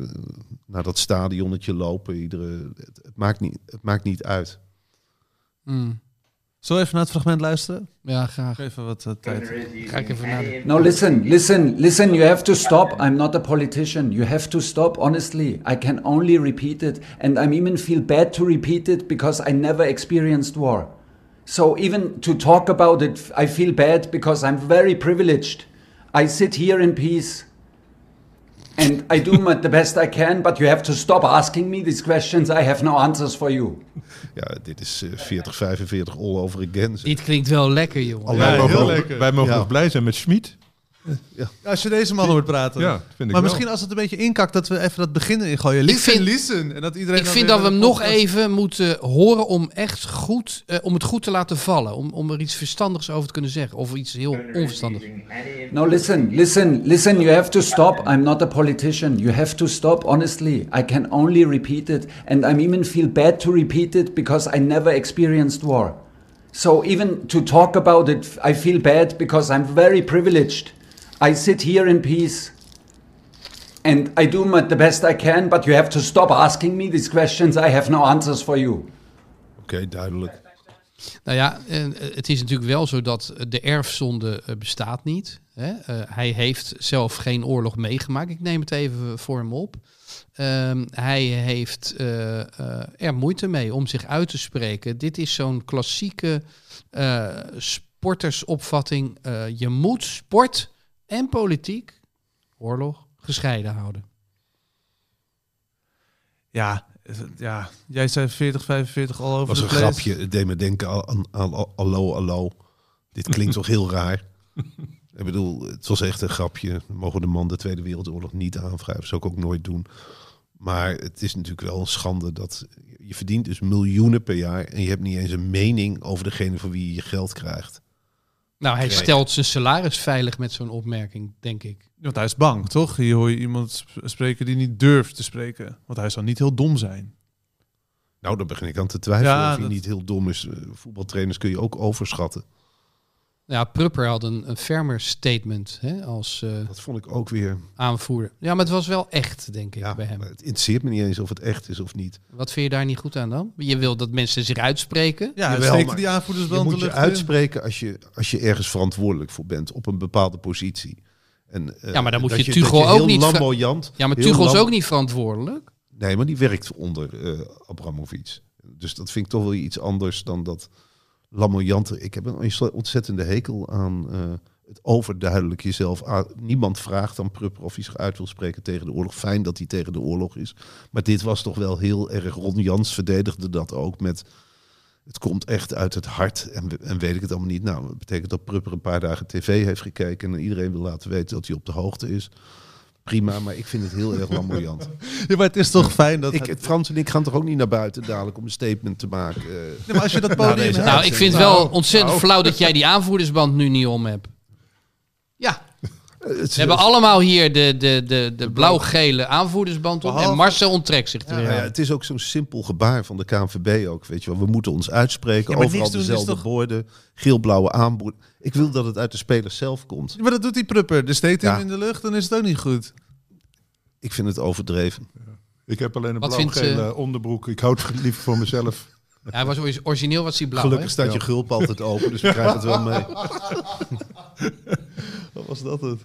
Speaker 4: naar dat stadionnetje lopen. Iedere, het, het maakt niet, het maakt niet uit.
Speaker 3: Mm,
Speaker 2: Zullen we even naar het fragment luisteren?
Speaker 3: ja graag.
Speaker 2: Even wat eh, tijd.
Speaker 3: Ga ik even naar de-
Speaker 7: No, listen, listen, listen. You have to stop. I'm not a politician. You have to stop, honestly. I can only repeat it. And I am even feel bad to repeat it because I never experienced war. So even to talk about it, I feel bad because I'm very privileged. I sit here in peace and I do my, the best I can, but you have to stop asking me these questions. I have no answers for you.
Speaker 4: Ja, dit is eh, 40, 45 all over again. zeg.
Speaker 3: Dit klinkt wel lekker, jongen.
Speaker 4: Ja,
Speaker 1: wij, mogen,
Speaker 4: heel
Speaker 1: ook-
Speaker 2: lekker.
Speaker 1: wij mogen
Speaker 4: Ja.
Speaker 1: ook blij zijn met Schmid.
Speaker 2: Als je deze man hoort praten.
Speaker 1: Ja, vind ik
Speaker 2: maar
Speaker 1: wel.
Speaker 2: misschien als het een beetje inkakt, dat we even dat begin erin gooien. Listen,
Speaker 3: vind-
Speaker 2: listen. En dat iedereen
Speaker 3: Ik
Speaker 2: dan
Speaker 3: vind
Speaker 2: weer
Speaker 3: dat we hem
Speaker 2: een
Speaker 3: nog
Speaker 2: podcast-
Speaker 3: even moeten eh, horen om echt goed, eh, om het goed te laten vallen. Om, om er iets verstandigs over te kunnen zeggen. Of iets heel onverstandigs.
Speaker 7: No, listen, listen, listen, you have to stop. I'm not a politician. You have to stop, honestly. I can only repeat it, and I'm even feel bad to repeat it because I never experienced war. So even to talk about it, I feel bad because I'm very privileged. I sit here in peace. And I do my, the best I can, but you have to stop asking me these questions. I have no answers for you.
Speaker 4: Oké, duidelijk.
Speaker 3: Nou ja, en, eh, het is natuurlijk wel zo dat eh, de erfzonde eh, bestaat niet. Hè? Eh, hij heeft zelf geen oorlog meegemaakt. Ik neem het even voor hem op. Ehm, hij heeft eh, eh, er moeite mee om zich uit te spreken. Dit is zo'n klassieke eh, sportersopvatting. Eh, je moet sport en politiek, oorlog, gescheiden houden.
Speaker 2: Ja, eh, ja, jij zei 40, 45 al over
Speaker 4: was
Speaker 2: de
Speaker 4: een
Speaker 2: place.
Speaker 4: grapje. Het deed me denken al- aan aan- Allo, Allo. Dit klinkt toch heel raar? Ik bedoel, het was echt een grapje. We mogen de man de Tweede Wereldoorlog niet aanwrijven. Zou ik ook nooit doen. Maar het is natuurlijk wel een schande dat... Je verdient dus miljoenen per jaar... en je hebt niet eens een mening over degene van wie je je geld krijgt.
Speaker 3: Nou, hij
Speaker 4: Kreeg.
Speaker 3: stelt zijn salaris veilig met zo'n opmerking, denk ik.
Speaker 2: Want hij is bang, toch? Hier hoor je iemand sp- spreken die niet durft te spreken. Want hij zou niet heel dom zijn.
Speaker 4: Nou, daar begin ik aan te twijfelen
Speaker 2: Ja,
Speaker 4: of hij
Speaker 2: dat-
Speaker 4: niet heel dom is. Eh, Voetbaltrainers kun je ook overschatten.
Speaker 3: Nou Ja, Prupper had een, een firmer statement hè, als eh,
Speaker 4: Dat vond ik ook weer...
Speaker 3: aanvoerder. Ja, maar het was wel echt, denk ik,
Speaker 4: Ja,
Speaker 3: bij hem.
Speaker 4: maar het interesseert me niet eens of het echt is of niet.
Speaker 3: Wat vind je daar niet goed aan dan? Je wil dat mensen zich uitspreken.
Speaker 2: Ja,
Speaker 4: Jawel,
Speaker 2: steken
Speaker 4: maar
Speaker 2: die aanvoerders wel
Speaker 4: Je
Speaker 2: in de
Speaker 4: moet je
Speaker 2: lucht in.
Speaker 4: uitspreken als je, als je ergens verantwoordelijk voor bent op een bepaalde positie. En, eh,
Speaker 3: Ja, maar dan moet
Speaker 4: dat
Speaker 3: je Tuchel
Speaker 4: dat je heel
Speaker 3: ook niet ver-
Speaker 4: Lamboyant,
Speaker 3: Ja, maar
Speaker 4: heel
Speaker 3: Tuchel is
Speaker 4: lam-
Speaker 3: ook niet verantwoordelijk.
Speaker 4: Nee, maar die werkt onder eh Abramovic. Dus dat vind ik toch wel iets anders dan dat lamboyante. Ik heb een ontzettende hekel aan eh, het overduidelijk jezelf. a- niemand vraagt aan Prupper of hij zich uit wil spreken tegen de oorlog. Fijn dat hij tegen de oorlog is. Maar dit was toch wel heel erg. Ron Jans verdedigde dat ook met. Het komt echt uit het hart en, we- en weet ik het allemaal niet. Nou, dat betekent dat Prupper een paar dagen tv heeft gekeken en iedereen wil laten weten dat hij op de hoogte is. Prima, maar ik vind het heel erg lamboyant.
Speaker 2: Ja, maar het is toch fijn dat...
Speaker 4: Ik, Frans en ik gaan toch ook niet naar buiten dadelijk om een statement te maken. eh.
Speaker 2: Nee, maar als je dat podium
Speaker 4: deze
Speaker 2: hebt-
Speaker 4: Ja,
Speaker 3: nou, ik
Speaker 4: zeker.
Speaker 3: vind het wel
Speaker 2: Nou,
Speaker 3: ontzettend
Speaker 2: nou.
Speaker 3: flauw dat jij die aanvoerdersband nu niet om hebt. Ja,
Speaker 4: Het is-
Speaker 3: we hebben allemaal hier de, de, de, de blauw-gele aanvoerdersband op. En
Speaker 2: Behalve-
Speaker 3: Marcel onttrekt zich er
Speaker 4: Nou
Speaker 3: weer
Speaker 4: ja,
Speaker 3: aan.
Speaker 4: het is ook zo'n simpel gebaar van de KNVB ook. Weet je wel. We moeten ons uitspreken.
Speaker 2: Ja, maar
Speaker 4: Overal
Speaker 2: niks doen is
Speaker 4: dezelfde
Speaker 2: toch-
Speaker 4: woorden. Geel-blauwe aanboord. Ik wil dat het uit de spelers zelf komt.
Speaker 2: Ja, Maar dat doet die prupper. Er steekt hem
Speaker 4: Ja.
Speaker 2: in de lucht, dan is het ook niet goed.
Speaker 4: Ik vind het overdreven.
Speaker 3: Nou,
Speaker 1: Ik heb alleen een
Speaker 3: Wat vindt eh,
Speaker 1: blauw-gele onderbroek. Ik houd het liever voor mezelf.
Speaker 3: Hij was oris- origineel was hij blauw,
Speaker 4: Gelukkig
Speaker 3: hè?
Speaker 4: staat je gulp altijd open, dus we krijgen het wel mee. Wat was dat het?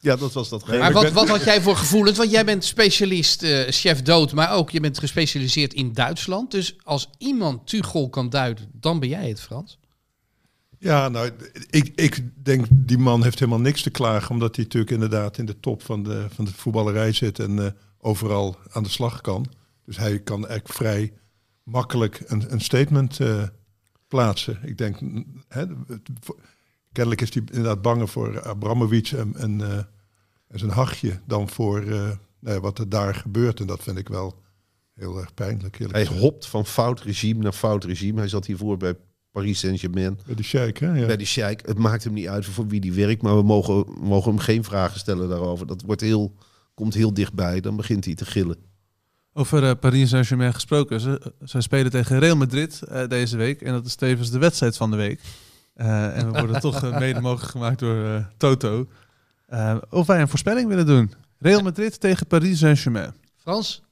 Speaker 4: Ja, dat was dat.
Speaker 3: Maar
Speaker 4: gele.
Speaker 3: wat, wat had jij voor gevoelens? Want jij bent specialist, eh, chef dood, maar ook je bent gespecialiseerd in Duitsland. Dus als iemand Tuchel kan duiden, dan ben jij het, Frans.
Speaker 1: Ja, nou, ik, ik denk die man heeft helemaal niks te klagen, omdat hij natuurlijk inderdaad in de top van de, van de voetballerij zit en eh, overal aan de slag kan. Dus hij kan eigenlijk vrij makkelijk een, een statement eh, plaatsen. Ik denk, mm, hè, het- voor- kennelijk is hij inderdaad banger voor Abramovic en, en, eh, en zijn hachje dan voor eh, nou ja, wat er daar gebeurt. En dat vind ik wel heel erg pijnlijk. eerlijk
Speaker 4: Hij
Speaker 1: gezegd.
Speaker 4: hopt van fout regime naar fout regime. Hij zat hiervoor bij Paris Saint-Germain.
Speaker 1: Bij die sheik, hè? Ja.
Speaker 4: bij de Sjaik. Het maakt hem niet uit voor wie die werkt, maar we mogen, we mogen hem geen vragen stellen daarover. Dat wordt heel, komt heel dichtbij, dan begint hij te gillen.
Speaker 2: Over eh, Paris Saint-Germain gesproken. Ze, ze spelen tegen Real Madrid eh, deze week. En dat is tevens de wedstrijd van de week. Eh, en we worden toch eh, mede mogelijk gemaakt door eh, Toto. Eh, of wij een voorspelling willen doen. Real Madrid tegen Paris Saint-Germain.
Speaker 3: Frans?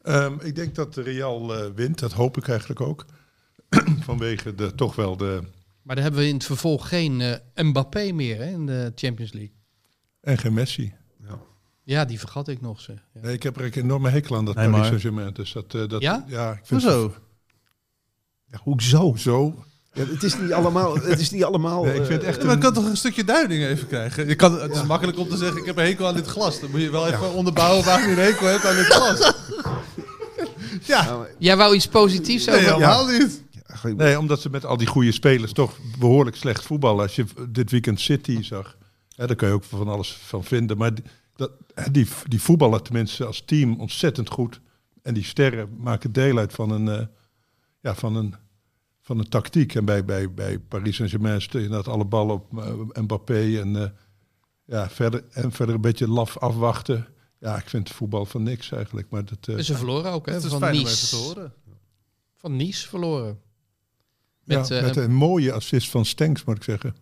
Speaker 1: Ehm, ik denk dat de Real eh, wint, dat hoop ik eigenlijk ook. Vanwege de, toch wel de.
Speaker 3: Maar dan hebben we in het vervolg geen eh, Mbappé meer hè, in de Champions League.
Speaker 1: En geen Messi.
Speaker 3: Ja, die vergat ik nog. Zeg. Ja.
Speaker 1: Nee, ik heb er een enorme hekel aan dat
Speaker 2: Neymar.
Speaker 1: Paris Saint-Germain. Dus dat, eh, dat,
Speaker 3: Ja?
Speaker 1: ik vind
Speaker 2: Hoezo?
Speaker 4: Ja, hoezo?
Speaker 1: Zo.
Speaker 4: Ja, het is niet allemaal. Het is niet allemaal
Speaker 1: Nee, ik vind
Speaker 4: eh,
Speaker 1: echt
Speaker 2: Ja, maar ik kan toch een stukje duiding even krijgen? Je kan, het is makkelijk om te zeggen, ik heb een hekel aan dit glas. Dan moet je wel even onderbouwen waarom je een hekel hebt aan dit glas.
Speaker 3: Jij wou iets positiefs
Speaker 2: Nee,
Speaker 3: over...
Speaker 2: helemaal niet.
Speaker 4: ja, ik-
Speaker 1: Nee, omdat ze met al die goede spelers toch behoorlijk slecht voetballen. Als je eh, dit weekend City zag. Hè, daar kun je ook van alles van vinden. Maar die, dat, hè, die, die voetballen tenminste als team ontzettend goed. En die sterren maken deel uit van een, eh, ja, van een, van een tactiek. En bij, bij, bij Paris Saint-Germain stel je dat alle ballen op eh, Mbappé. En, eh, ja, verder, en verder een beetje laf afwachten. Ja, ik vind voetbal van niks eigenlijk. Maar dat, eh,
Speaker 3: En ze verloren ook, hè?
Speaker 2: Het is
Speaker 3: Van
Speaker 2: fijn om
Speaker 3: Nice.
Speaker 2: even te horen.
Speaker 3: Van Nice verloren.
Speaker 1: ja,
Speaker 3: Met, eh,
Speaker 1: met een mooie assist van Stenks, moet ik zeggen.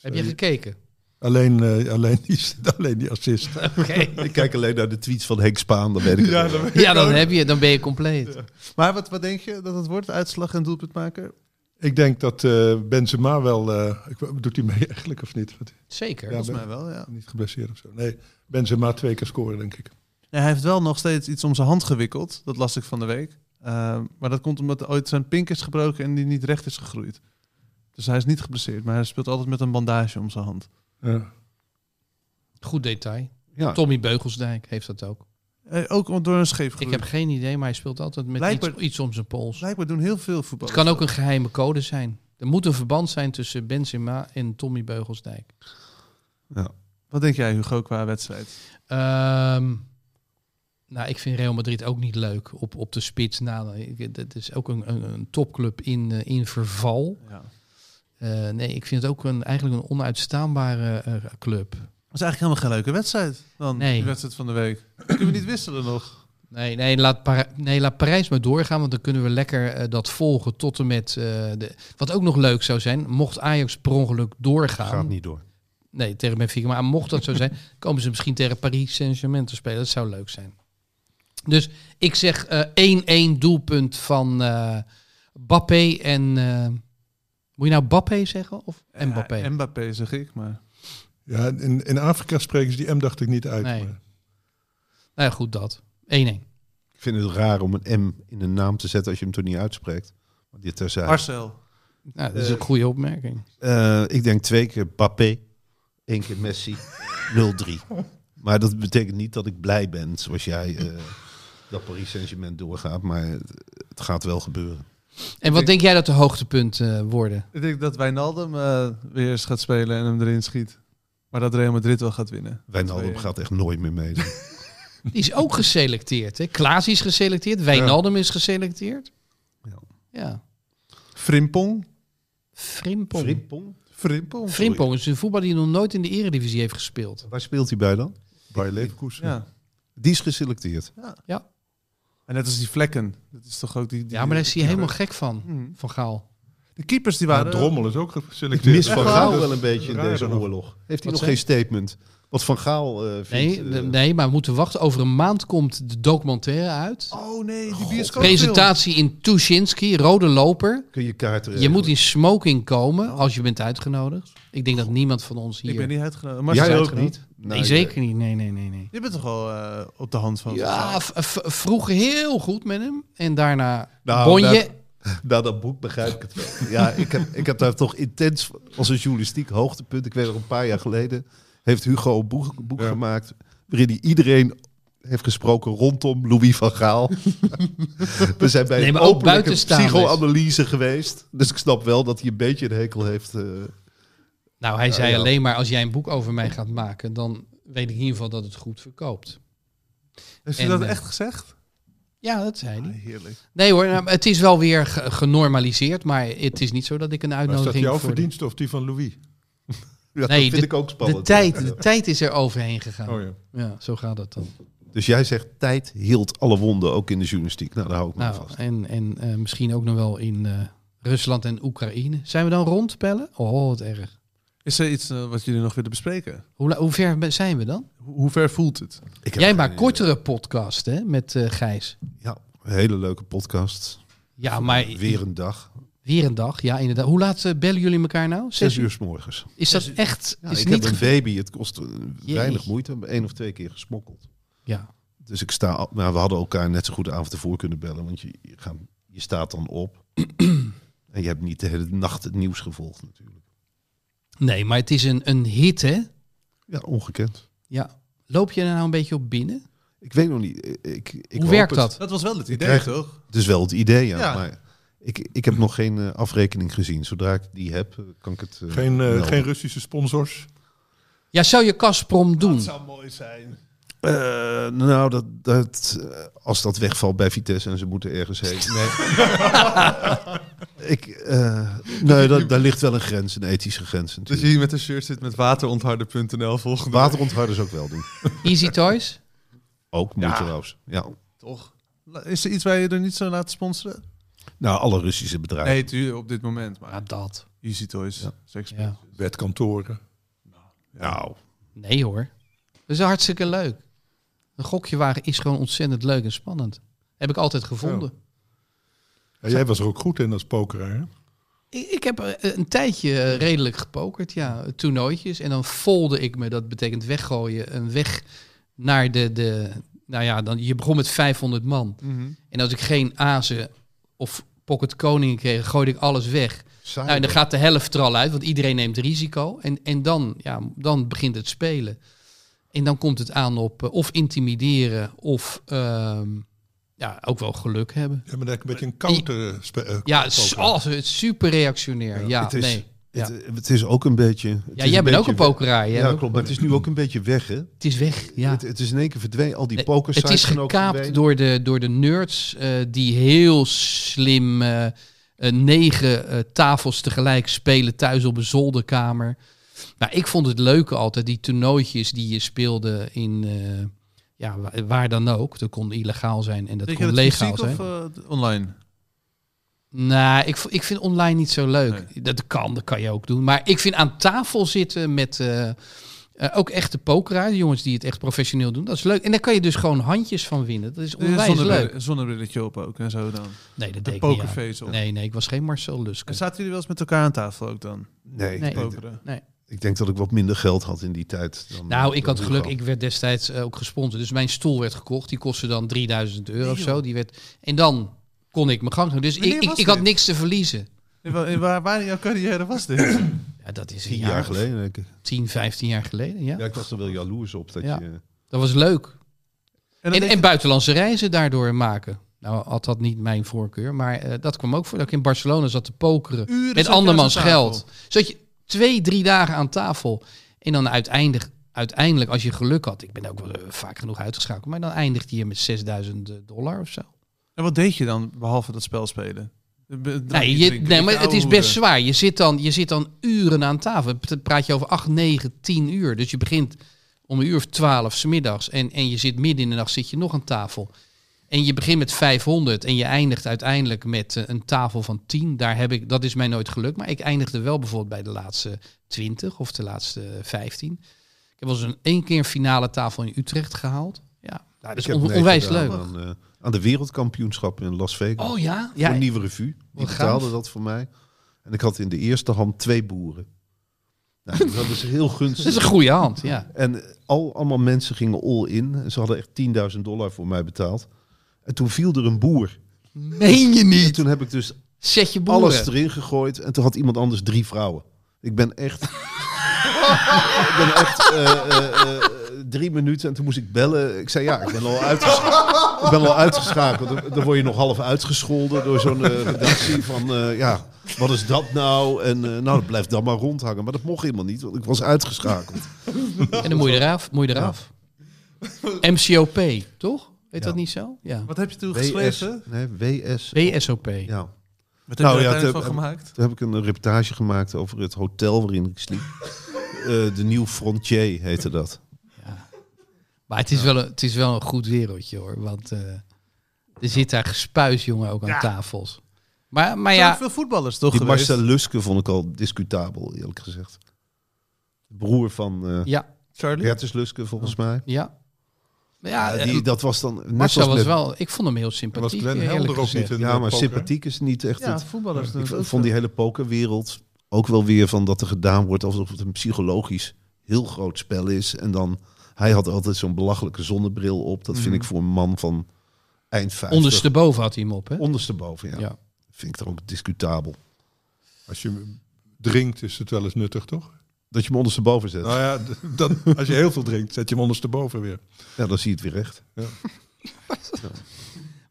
Speaker 3: heb je gekeken?
Speaker 1: Alleen, eh, alleen, die, alleen die assist.
Speaker 3: Oké.
Speaker 4: Ik kijk alleen naar de tweets van Henk Spaan, dan weet ik het wel.
Speaker 3: ja, dan, heb je, dan ben je compleet.
Speaker 2: Maar wat, wat denk je dat het wordt? Uitslag en doelpuntmaker?
Speaker 1: Ik denk dat eh, Benzema wel... eh, ik- doet hij mee eigenlijk of niet? Want
Speaker 3: Zeker.
Speaker 1: Ja.
Speaker 2: Volgens mij wel, ja.
Speaker 1: hij is niet geblesseerd of zo. Nee, Benzema twee keer scoren, denk ik.
Speaker 2: Ja, hij heeft wel nog steeds iets om zijn hand gewikkeld. Dat las ik van de week. Ehm, maar dat komt omdat ooit zijn pink is gebroken en die niet recht is gegroeid. Dus hij is niet geblesseerd, maar hij speelt altijd met een bandage om zijn hand.
Speaker 1: Ja.
Speaker 3: Goed detail.
Speaker 4: Ja.
Speaker 3: Tommy Beugelsdijk heeft dat ook.
Speaker 2: Eh, ook door een scheef
Speaker 3: Ik
Speaker 2: gegroeid.
Speaker 3: heb geen idee, maar hij speelt altijd met iets,
Speaker 2: Blijkbaar-
Speaker 3: iets om zijn pols.
Speaker 2: Blijkbaar doen heel veel voetbal.
Speaker 3: Het kan ook een geheime code zijn. Er moet een verband zijn tussen Benzema en Tommy Beugelsdijk.
Speaker 2: Wat denk jij, Hugo, qua wedstrijd?
Speaker 3: Ehm, nou, ik vind Real Madrid ook niet leuk op, op de spits. Nou, ik- dat is ook een, een, een topclub in, eh, in verval.
Speaker 2: Ja.
Speaker 3: Eh, nee, ik vind het ook een, eigenlijk een onuitstaanbare eh, club.
Speaker 2: Dat is eigenlijk helemaal geen leuke wedstrijd. Dan
Speaker 3: Nee.
Speaker 2: die wedstrijd van de week. Kunnen we niet wisselen nog?
Speaker 3: Nee, nee, laat Para- nee, laat Parijs maar doorgaan, want dan kunnen we lekker eh, dat volgen tot en met... eh, de... Wat ook nog leuk zou zijn, mocht Ajax per ongeluk doorgaan...
Speaker 4: Gaat niet door.
Speaker 3: Nee, tegen Benfica. Maar mocht dat zo zijn, komen ze misschien tegen Paris Saint-Germain te spelen. Dat zou leuk zijn. Dus ik zeg eh, 1-1 doelpunt van eh Bappé en... eh, moet je nou Bappé zeggen of
Speaker 4: Eh,
Speaker 3: Mbappé?
Speaker 2: Ja, Mbappé zeg ik, maar...
Speaker 1: Ja, in, in Afrika spreken ze die M dacht ik niet uit.
Speaker 3: Nee.
Speaker 1: maar-
Speaker 3: nou ja, goed, dat. 1-1.
Speaker 4: Ik vind het raar om een M in een naam te zetten als je hem toch niet uitspreekt. Maar dit terzijde.
Speaker 2: Marcel.
Speaker 3: Nou, dat is een goede opmerking.
Speaker 4: Eh, ik denk twee keer Mbappé, één keer Messi, 0-3. Maar dat betekent niet dat ik blij ben, zoals jij, eh, dat Paris Saint-Germain doorgaat. Maar het, het gaat wel gebeuren.
Speaker 3: En wat denk jij dat de hoogtepunten eh, worden?
Speaker 2: Ik denk dat Wijnaldum eh, weer eens gaat spelen en hem erin schiet. Maar dat Real Madrid wel gaat winnen.
Speaker 4: Wijnaldum gaat echt nooit meer mee.
Speaker 3: Die is ook geselecteerd. Hè? Klaas is geselecteerd. Wijnaldum is geselecteerd.
Speaker 4: Ja.
Speaker 3: Ja.
Speaker 2: Frimpong?
Speaker 3: Frimpong.
Speaker 4: Frimpong?
Speaker 2: Frimpong?
Speaker 3: Frimpong is een voetballer die nog nooit in de eredivisie heeft gespeeld.
Speaker 4: Waar speelt hij bij dan?
Speaker 1: Bayer Leverkusen.
Speaker 2: Ja.
Speaker 4: Die is geselecteerd.
Speaker 2: En net als die vlekken. Dat is toch ook die... die
Speaker 3: Ja, maar daar is hij
Speaker 2: Ja.
Speaker 3: helemaal gek van,
Speaker 2: Mhm.
Speaker 3: van Gaal.
Speaker 2: De keepers die
Speaker 1: Ja,
Speaker 2: waren...
Speaker 1: Drommel is ook
Speaker 4: Ik
Speaker 1: geselecteerd.
Speaker 4: mis Van
Speaker 1: Ja,
Speaker 4: Gaal
Speaker 1: dat is
Speaker 4: wel een beetje in
Speaker 1: raar
Speaker 4: deze
Speaker 1: nog.
Speaker 4: oorlog. Heeft hij
Speaker 3: Wat
Speaker 4: dus. nog
Speaker 3: zeg
Speaker 4: geen statement? Wat Van Gaal eh, vindt...
Speaker 3: Nee,
Speaker 4: eh,
Speaker 3: de- nee, maar we moeten wachten. Over een maand komt de documentaire uit.
Speaker 2: Oh nee, die bioscoop.
Speaker 3: Presentatie in Tuschinski, rode loper.
Speaker 4: kun je kaarten eh,
Speaker 3: Je
Speaker 4: regelen.
Speaker 3: moet in smoking komen als je bent uitgenodigd. Ik denk dat niemand van ons hier...
Speaker 2: Ik ben niet uitgenodigd.
Speaker 4: Jij
Speaker 2: Marcel,
Speaker 4: ook niet? eh,
Speaker 3: nee,
Speaker 4: ik-
Speaker 3: zeker niet. Nee, nee, nee, nee.
Speaker 2: Je bent toch wel eh, op de hand van...
Speaker 3: Ja, v- v- vroeger heel goed met hem. En daarna
Speaker 4: Nou,
Speaker 3: Bonje.
Speaker 4: dat- Nou, dat boek begrijp ik het wel. Ja, ik heb, ik heb daar toch intens als een journalistiek hoogtepunt. Ik weet nog een paar jaar geleden heeft Hugo een boek, boek
Speaker 1: Ja.
Speaker 4: gemaakt waarin hij iedereen heeft gesproken rondom Louis van Gaal. We zijn bij
Speaker 3: Nee,
Speaker 4: een
Speaker 3: maar ook
Speaker 4: openlijke
Speaker 3: buitenstaanders.
Speaker 4: psychoanalyse geweest. Dus ik snap wel dat hij een beetje een hekel heeft. eh.
Speaker 3: Nou, hij zei
Speaker 4: ja.
Speaker 3: alleen maar als jij een boek over mij gaat maken... dan weet ik in ieder geval dat het goed verkoopt.
Speaker 2: Heeft
Speaker 3: En,
Speaker 2: hij dat
Speaker 3: eh,
Speaker 2: echt gezegd? Ah,
Speaker 3: Ja, dat zei hij.
Speaker 2: heerlijk.
Speaker 3: Nee hoor, nou, het is wel weer ge- genormaliseerd, maar het is niet zo dat ik een
Speaker 1: Maar is dat
Speaker 3: uitnodiging
Speaker 1: jouw
Speaker 3: voor de,
Speaker 1: verdienste of die van Louis?
Speaker 4: Ja, dat
Speaker 3: Nee,
Speaker 4: vind
Speaker 3: de-
Speaker 4: ik ook
Speaker 3: de
Speaker 4: spannend.
Speaker 3: tijd.
Speaker 4: Ja.
Speaker 3: De tijd is er overheen gegaan.
Speaker 1: Oh ja.
Speaker 3: ja, zo gaat dat dan.
Speaker 4: Dus jij zegt tijd hield alle wonden, ook in de journalistiek. Nou, daar hou ik me aan
Speaker 3: Nou,
Speaker 4: vast.
Speaker 3: en, en eh, misschien ook nog wel in eh, Rusland en Oekraïne. Zijn we dan rond, Pelle? Oh, wat erg.
Speaker 2: Is er iets eh, wat jullie nog willen bespreken?
Speaker 3: Hoe, la- hoe ver be- zijn we dan?
Speaker 2: Ho- Hoe ver voelt het?
Speaker 4: Ik heb
Speaker 3: Jij
Speaker 4: geen
Speaker 3: maakt
Speaker 4: idee.
Speaker 3: kortere podcast hè, met eh, Gijs.
Speaker 4: Ja, een hele leuke podcast.
Speaker 3: Ja, maar
Speaker 4: Weer een dag.
Speaker 3: weer een dag. Ja, inderdaad. Hoe laat eh, bellen jullie elkaar nou?
Speaker 4: Zes uur s morgens.
Speaker 3: Is dat echt?
Speaker 4: Ja,
Speaker 3: is
Speaker 4: Nou, ik
Speaker 3: niet
Speaker 4: heb een
Speaker 3: ge-
Speaker 4: baby. Het kost eh, weinig
Speaker 3: Jee.
Speaker 4: moeite. maar één of twee keer gesmokkeld.
Speaker 3: Ja.
Speaker 4: Dus ik sta. al- Nou, we hadden elkaar net zo goed de avond ervoor kunnen bellen. Want je, je, gaat, je staat dan op. en je hebt niet de hele nacht het nieuws gevolgd natuurlijk.
Speaker 3: Nee, maar het is een, een hit, hè?
Speaker 4: Ja, ongekend.
Speaker 3: Ja. Loop je er nou een beetje op binnen?
Speaker 4: Ik weet nog niet. Ik- Ik, ik
Speaker 3: hoe
Speaker 4: hoop
Speaker 3: werkt
Speaker 4: het.
Speaker 3: dat?
Speaker 2: Dat was wel het idee,
Speaker 4: krijg-
Speaker 2: toch?
Speaker 4: Het is wel het idee, ja.
Speaker 2: Ja.
Speaker 4: Maar ik, ik heb nog geen eh, afrekening gezien. Zodra ik die heb, eh, kan ik het. eh,
Speaker 1: Geen, eh,
Speaker 4: melden.
Speaker 1: geen Russische sponsors.
Speaker 3: Ja, zou je Kasprom doen?
Speaker 2: Dat zou mooi zijn.
Speaker 4: Eh, nou, dat, dat, eh, als dat wegvalt bij Vitesse en ze moeten ergens heen. Nee, ik, eh, nee dat, daar ligt wel een grens, een ethische grens
Speaker 8: Dat je
Speaker 4: natuurlijk.
Speaker 8: hier met een shirt zit met waterontharder.nl volgende.
Speaker 4: Waterontharders ook wel doen.
Speaker 3: Easy Toys?
Speaker 4: Ook moeiteloos. Ja.
Speaker 2: Toch? La- Is er iets waar je er niet zo laat sponsoren?
Speaker 4: Nou, alle Russische bedrijven.
Speaker 2: Nee, tuurlijk op dit moment. Maar
Speaker 3: Ja, dat.
Speaker 2: Easy Toys, Sex
Speaker 3: Ja.
Speaker 1: Wetkantoren.
Speaker 4: Nou,
Speaker 3: Nee hoor. Dat is hartstikke leuk. Een gokjewagen is gewoon ontzettend leuk en spannend. Heb ik altijd gevonden.
Speaker 1: Ja, jij was er ook goed in als pokeraar. hè?
Speaker 3: Ik, ik heb eh, een tijdje eh, redelijk gepokerd, ja. Toernooitjes. En dan folde ik me, dat betekent weggooien. En weg naar de... de nou ja, dan, je begon met 500 man.
Speaker 4: Mhm.
Speaker 3: En als ik geen azen of pocket koningen kreeg, gooide ik alles weg.
Speaker 4: saai.
Speaker 3: Nou, en dan gaat de helft er al uit, want iedereen neemt risico. En, en dan, ja, dan begint het spelen. En dan komt het aan op eh, of intimideren of ehm, ja, ook wel geluk hebben.
Speaker 1: Ja, maar dat een beetje een counter... spe- eh,
Speaker 3: Ja,
Speaker 1: poker.
Speaker 3: s- oh, het is super reactionair. Ja,
Speaker 4: het is,
Speaker 3: nee.
Speaker 4: Het, het is ook een beetje... het is
Speaker 3: Ja, jij
Speaker 4: een
Speaker 3: bent ook een
Speaker 4: beetje-
Speaker 3: pokeraar. jij
Speaker 4: Ja,
Speaker 3: ook-
Speaker 4: klopt. Maar het is nu ook een beetje weg, hè?
Speaker 3: Het is weg. Ja.
Speaker 4: Het, het is in één keer verdwenen. Al die
Speaker 3: Nee,
Speaker 4: pokers
Speaker 3: het is gekaapt door de, door de nerds eh, die heel slim eh, eh, negen eh, tafels tegelijk spelen thuis op een zolderkamer. Maar ik vond het leuke altijd, die toernooitjes die je speelde in eh, ja, wa- waar dan ook. Dat kon illegaal zijn en dat
Speaker 2: Weet je
Speaker 3: kon
Speaker 2: dat
Speaker 3: legaal
Speaker 2: fysiek
Speaker 3: zijn.
Speaker 2: of eh, online?
Speaker 3: Nou, ik, v- ik vind online niet zo leuk.
Speaker 2: Nee.
Speaker 3: Dat kan, dat kan je ook doen. Maar ik vind aan tafel zitten met eh, eh, ook echte pokeraar, die jongens die het echt professioneel doen, dat is leuk. En daar kan je dus gewoon handjes van winnen. Dat is onwijs leuk.
Speaker 2: Een zonnebrilletje op ook en zo dan.
Speaker 3: Nee, dat deed
Speaker 2: De
Speaker 3: ik niet aan.
Speaker 2: pokerface op.
Speaker 3: Nee, nee, ik was geen Marcel Luske.
Speaker 2: En zaten jullie wel eens met elkaar aan tafel ook dan?
Speaker 4: Nee,
Speaker 3: Nee.
Speaker 4: ik denk-
Speaker 2: Pokeren.
Speaker 4: ik denk dat ik wat minder geld had in die tijd. Dan,
Speaker 3: Nou,
Speaker 4: dan
Speaker 3: ik had
Speaker 4: nu
Speaker 3: geluk.
Speaker 4: gehad.
Speaker 3: Ik werd destijds eh, ook gesponsord. Dus mijn stoel werd gekocht. Die kostte dan 3000 euro of
Speaker 2: joh.
Speaker 3: zo. Die werd, en dan kon ik mijn gang doen. Dus
Speaker 2: Wanneer
Speaker 3: ik, ik,
Speaker 2: was
Speaker 3: ik had
Speaker 2: dit?
Speaker 3: niks te verliezen.
Speaker 2: In wa- in waar, waar in jouw carrière was dit?
Speaker 3: Ja, dat is een
Speaker 4: Tien jaar,
Speaker 3: jaar geleden.
Speaker 4: geleden. denk ik.
Speaker 3: 10, 15 jaar geleden, ja.
Speaker 4: Ja, ik was er wel jaloers op. Dat
Speaker 3: Ja.
Speaker 4: je, Nou,
Speaker 3: Dat was leuk.
Speaker 2: dan
Speaker 3: En,
Speaker 2: denk
Speaker 3: en
Speaker 2: je-
Speaker 3: buitenlandse reizen daardoor maken. Nou had dat niet mijn voorkeur, maar eh, dat kwam ook voor dat ik in Barcelona zat te pokeren.
Speaker 2: Uren zat
Speaker 3: met
Speaker 2: je aan
Speaker 3: andermans
Speaker 2: tafel.
Speaker 3: geld. Zodat je twee, drie dagen aan tafel. En dan uiteindelijk, uiteindelijk als je geluk had, ik ben ook wel eh, vaak genoeg uitgeschakeld, maar dan eindigde je met 6000 dollar of zo.
Speaker 2: En wat deed je dan, behalve dat spel spelen? Be- drankje
Speaker 3: Nee, je,
Speaker 2: drinken, beetje
Speaker 3: nee, maar het is
Speaker 2: ouwehoeren.
Speaker 3: best zwaar. Je zit, dan, je zit dan uren aan tafel. Dan praat je over 8, 9, 10 uur. Dus je begint om een uur of 12 's middags En, en je zit midden in de nacht zit je nog aan tafel. En je begint met 500 en je eindigt uiteindelijk met eh, een tafel van 10. Daar heb ik, dat is mij nooit gelukt. Maar ik eindigde wel bijvoorbeeld bij de laatste 20 of de laatste 15. Ik heb wel eens een één keer een finale tafel in Utrecht gehaald. Ja, dat is
Speaker 4: Ik heb
Speaker 3: on-
Speaker 4: meegedaan
Speaker 3: onwijs leuk.
Speaker 4: Aan, eh, aan de wereldkampioenschap in Las Vegas.
Speaker 3: Oh
Speaker 4: voor
Speaker 3: ja? ja
Speaker 4: een nieuwe revue. Die
Speaker 3: Wat gaaf.
Speaker 4: betaalde dat voor mij. En ik had in de eerste hand twee boeren. Nou, dat is heel gunstig.
Speaker 3: dat is een goede hand, ja.
Speaker 4: En al, allemaal mensen gingen all in. En ze hadden echt 10.000 dollar voor mij betaald. En toen viel er een boer.
Speaker 3: Meen je
Speaker 4: En
Speaker 3: niet?
Speaker 4: toen heb ik dus
Speaker 3: Zet je boeren.
Speaker 4: alles erin gegooid. En toen had iemand anders drie vrouwen. Ik ben echt... ik ben echt eh, eh, eh, drie minuten en toen moest ik bellen. Ik zei ja, ik ben al uitgeschakeld. ik ben al uitgeschakeld. Dan- Dan word je nog half uitgescholden door zo'n eh, redactie van... eh, ja, wat is dat nou? En eh, nou, dat blijft dan maar rondhangen. Maar dat mocht helemaal niet, want ik was uitgeschakeld.
Speaker 3: En dan moet je eraf. Moet je eraf. MCOP, toch? Weet
Speaker 4: Ja.
Speaker 3: dat niet zo? Ja.
Speaker 2: Wat heb je toen
Speaker 4: WS,
Speaker 2: geschreven?
Speaker 4: nee, WS.
Speaker 3: WSOP.
Speaker 4: Ja.
Speaker 2: Wat heb
Speaker 4: Nou,
Speaker 2: je er
Speaker 4: ja,
Speaker 2: uiteindelijk
Speaker 4: het-
Speaker 2: van
Speaker 4: eh,
Speaker 2: gemaakt?
Speaker 4: Toen heb ik een reportage gemaakt over het hotel waarin ik sliep. Eh, de Nieuw Frontier heette dat.
Speaker 3: Maar het is, wel een, het is wel een goed wereldje hoor. Want eh, er zit daar gespuis, jongen, ook aan tafels. Maar, maar
Speaker 2: Er
Speaker 3: ja,
Speaker 2: zijn veel voetballers toch
Speaker 4: Die
Speaker 2: geweest?
Speaker 4: Marcel Luske vond ik al discutabel, eerlijk gezegd. De broer van eh
Speaker 3: ja,
Speaker 2: Charlie?
Speaker 4: Bertus Luske, volgens mij.
Speaker 3: ja. Maar ja,
Speaker 4: Ja,
Speaker 3: eh,
Speaker 4: die, dat was dan... Net
Speaker 3: Marcel
Speaker 4: zoals
Speaker 3: was
Speaker 4: met-
Speaker 3: wel... Ik vond hem heel
Speaker 1: En was
Speaker 3: sympathiek.
Speaker 1: Glenn
Speaker 3: eerlijk
Speaker 1: Helder ook
Speaker 3: gezegd.
Speaker 1: niet in
Speaker 4: Ja,
Speaker 1: de
Speaker 4: maar
Speaker 1: poker?
Speaker 4: sympathiek is niet echt
Speaker 2: Ja,
Speaker 4: het...
Speaker 2: voetballers. doen
Speaker 4: Ik
Speaker 2: dat ook
Speaker 4: v- vond die hele pokerwereld ook wel weer van dat er gedaan wordt... alsof het een psychologisch heel groot spel is. En dan... Hij had altijd zo'n belachelijke zonnebril op. Dat vind ik voor een man van eind 50...
Speaker 3: Ondersteboven had hij hem op, hè?
Speaker 4: Ondersteboven, ja.
Speaker 3: Ja.
Speaker 4: Vind ik er ook discutabel.
Speaker 1: Als je drinkt is het wel eens nuttig, toch?
Speaker 4: Dat je hem ondersteboven zet.
Speaker 1: Nou ja, d- dan, als je heel veel drinkt, zet je hem ondersteboven weer.
Speaker 4: Ja, dan zie je het weer recht.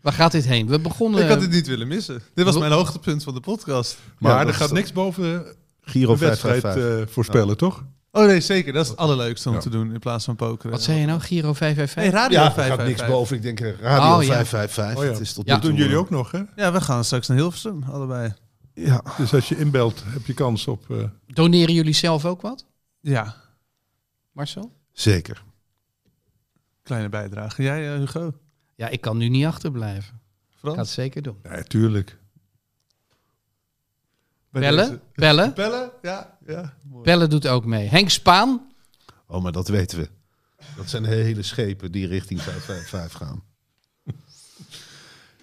Speaker 3: Waar gaat dit heen? We begonnen...
Speaker 2: Ik had dit niet willen missen. Dit was
Speaker 3: Wat-
Speaker 2: mijn hoogtepunt van de podcast.
Speaker 1: Maar
Speaker 4: Ja, dat
Speaker 1: er
Speaker 4: is
Speaker 1: gaat
Speaker 4: dat.
Speaker 1: niks boven de
Speaker 4: Giro
Speaker 1: wedstrijd
Speaker 4: 555.
Speaker 1: eh, voorspellen, toch?
Speaker 2: Oh nee, zeker. Dat is het allerleukste om te doen in plaats van pokeren.
Speaker 3: Wat zei je nou? Giro
Speaker 2: Nee,
Speaker 3: 555?
Speaker 1: Ah,
Speaker 2: Radio
Speaker 4: Ja, er
Speaker 2: 555.
Speaker 4: gaat niks boven. Ik denk eh, Radio
Speaker 3: Oh, ja.
Speaker 4: 555.
Speaker 1: Oh, ja.
Speaker 4: Het is tot
Speaker 3: Ja.
Speaker 4: nu
Speaker 1: Dat doen
Speaker 4: toe,
Speaker 1: jullie
Speaker 4: eh,
Speaker 1: ook nog, hè?
Speaker 2: Ja, we gaan straks naar Hilversum, allebei.
Speaker 1: Ja. Dus als je inbelt, heb je kans op... eh,
Speaker 3: Doneren jullie zelf ook wat,
Speaker 2: Ja,
Speaker 3: Marcel?
Speaker 4: Zeker.
Speaker 2: kleine bijdrage. Jij, eh, Hugo?
Speaker 3: Ja, ik kan nu niet achterblijven. Ik
Speaker 2: Frans?
Speaker 3: ga het zeker doen.
Speaker 1: ja, tuurlijk.
Speaker 2: Bij deze.
Speaker 3: Bellen? Bellen?
Speaker 2: Bellen? Ja. ja. Mooi.
Speaker 3: Bellen doet ook mee. Henk Spaan?
Speaker 4: Oh, maar dat weten we. Dat zijn hele schepen die richting 555 gaan.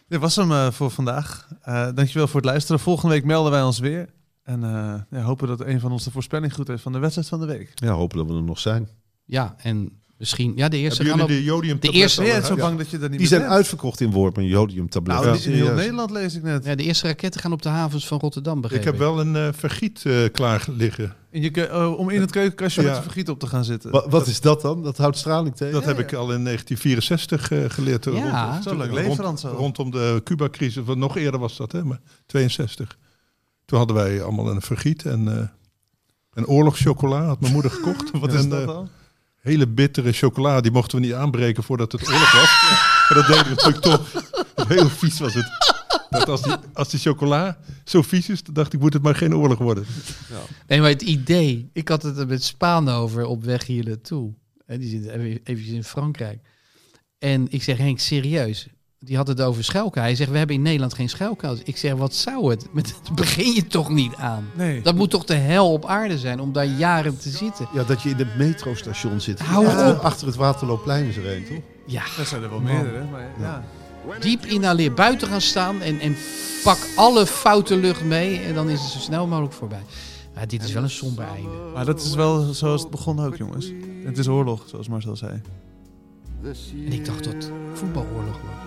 Speaker 2: Dit was hem eh, voor vandaag. Eh, dankjewel voor het luisteren. Volgende week melden wij ons weer. En eh, ja, hopen dat een van ons de voorspelling goed heeft van de wedstrijd van de week.
Speaker 4: Ja, hopen dat we er nog zijn.
Speaker 3: Ja, en misschien... Ja, de eerste
Speaker 1: Hebben
Speaker 3: gaan
Speaker 1: jullie
Speaker 3: op...
Speaker 1: de jodium
Speaker 3: de eerste-
Speaker 2: Ben jij zo
Speaker 1: Ja.
Speaker 2: bang dat je er niet
Speaker 4: Die
Speaker 2: meer
Speaker 4: zijn
Speaker 2: bent?
Speaker 4: uitverkocht in Worp, een jodiumtablet.
Speaker 2: Nou,
Speaker 4: Ja,
Speaker 2: dit in heel
Speaker 4: serieus.
Speaker 2: Nederland lees ik net.
Speaker 3: Ja, de eerste raketten gaan op de havens van Rotterdam, begreep
Speaker 1: Ik
Speaker 3: ik.
Speaker 1: heb wel een eh, vergiet eh, klaar liggen.
Speaker 2: In je keu- oh, om in het keukenkastje met
Speaker 1: Ja.
Speaker 2: de vergiet op te gaan zitten.
Speaker 4: Wa- Wat is dat dan? Dat houdt straling tegen?
Speaker 1: Dat
Speaker 2: Ja,
Speaker 1: heb
Speaker 2: ja.
Speaker 1: ik al in 1964 eh, geleerd. eh,
Speaker 3: Ja.
Speaker 2: Zo lang
Speaker 1: rond-
Speaker 2: leven Frans al.
Speaker 1: Rondom de Cuba-crisis. Want nog eerder was dat, hè? Maar 62. Toen hadden wij allemaal een vergiet en eh, een oorlogschocola. Had mijn moeder gekocht. Wat
Speaker 2: is
Speaker 1: een
Speaker 2: dat
Speaker 1: eh,
Speaker 2: dan?
Speaker 1: hele bittere chocola. Die mochten we niet aanbreken voordat het oorlog was. Maar dat deden we natuurlijk toch. Heel vies was het. Dat als, die, als die chocola zo vies is, dan dacht ik, moet het maar geen oorlog worden.
Speaker 3: Nee, maar het idee. Ik had het er met Spaan over op weg hier naartoe. En die zit even- eventjes in Frankrijk. En ik zeg, Henk, serieus. Die had het over schuilkou. Hij zegt, we hebben in Nederland geen schuilkou. Ik zeg, wat zou het? Met dat begin je toch niet aan?
Speaker 2: Nee.
Speaker 3: Dat moet toch de hel op aarde zijn om daar jaren te zitten?
Speaker 4: Ja, dat je in het metrostation zit.
Speaker 3: Hou
Speaker 4: Achter-
Speaker 3: op.
Speaker 4: Achter het Waterloopplein is er een, toch?
Speaker 3: Ja,
Speaker 2: Er zijn er wel meerdere, maar ja.
Speaker 3: diep inhaleer, buiten gaan staan en, en pak alle foute lucht mee. En dan is het zo snel mogelijk voorbij. Maar dit is wel een somber einde.
Speaker 2: Maar dat is wel zoals het begon ook, jongens. Het is oorlog, zoals Marcel zei.
Speaker 5: This
Speaker 3: En ik dacht dat voetbaloorlog was.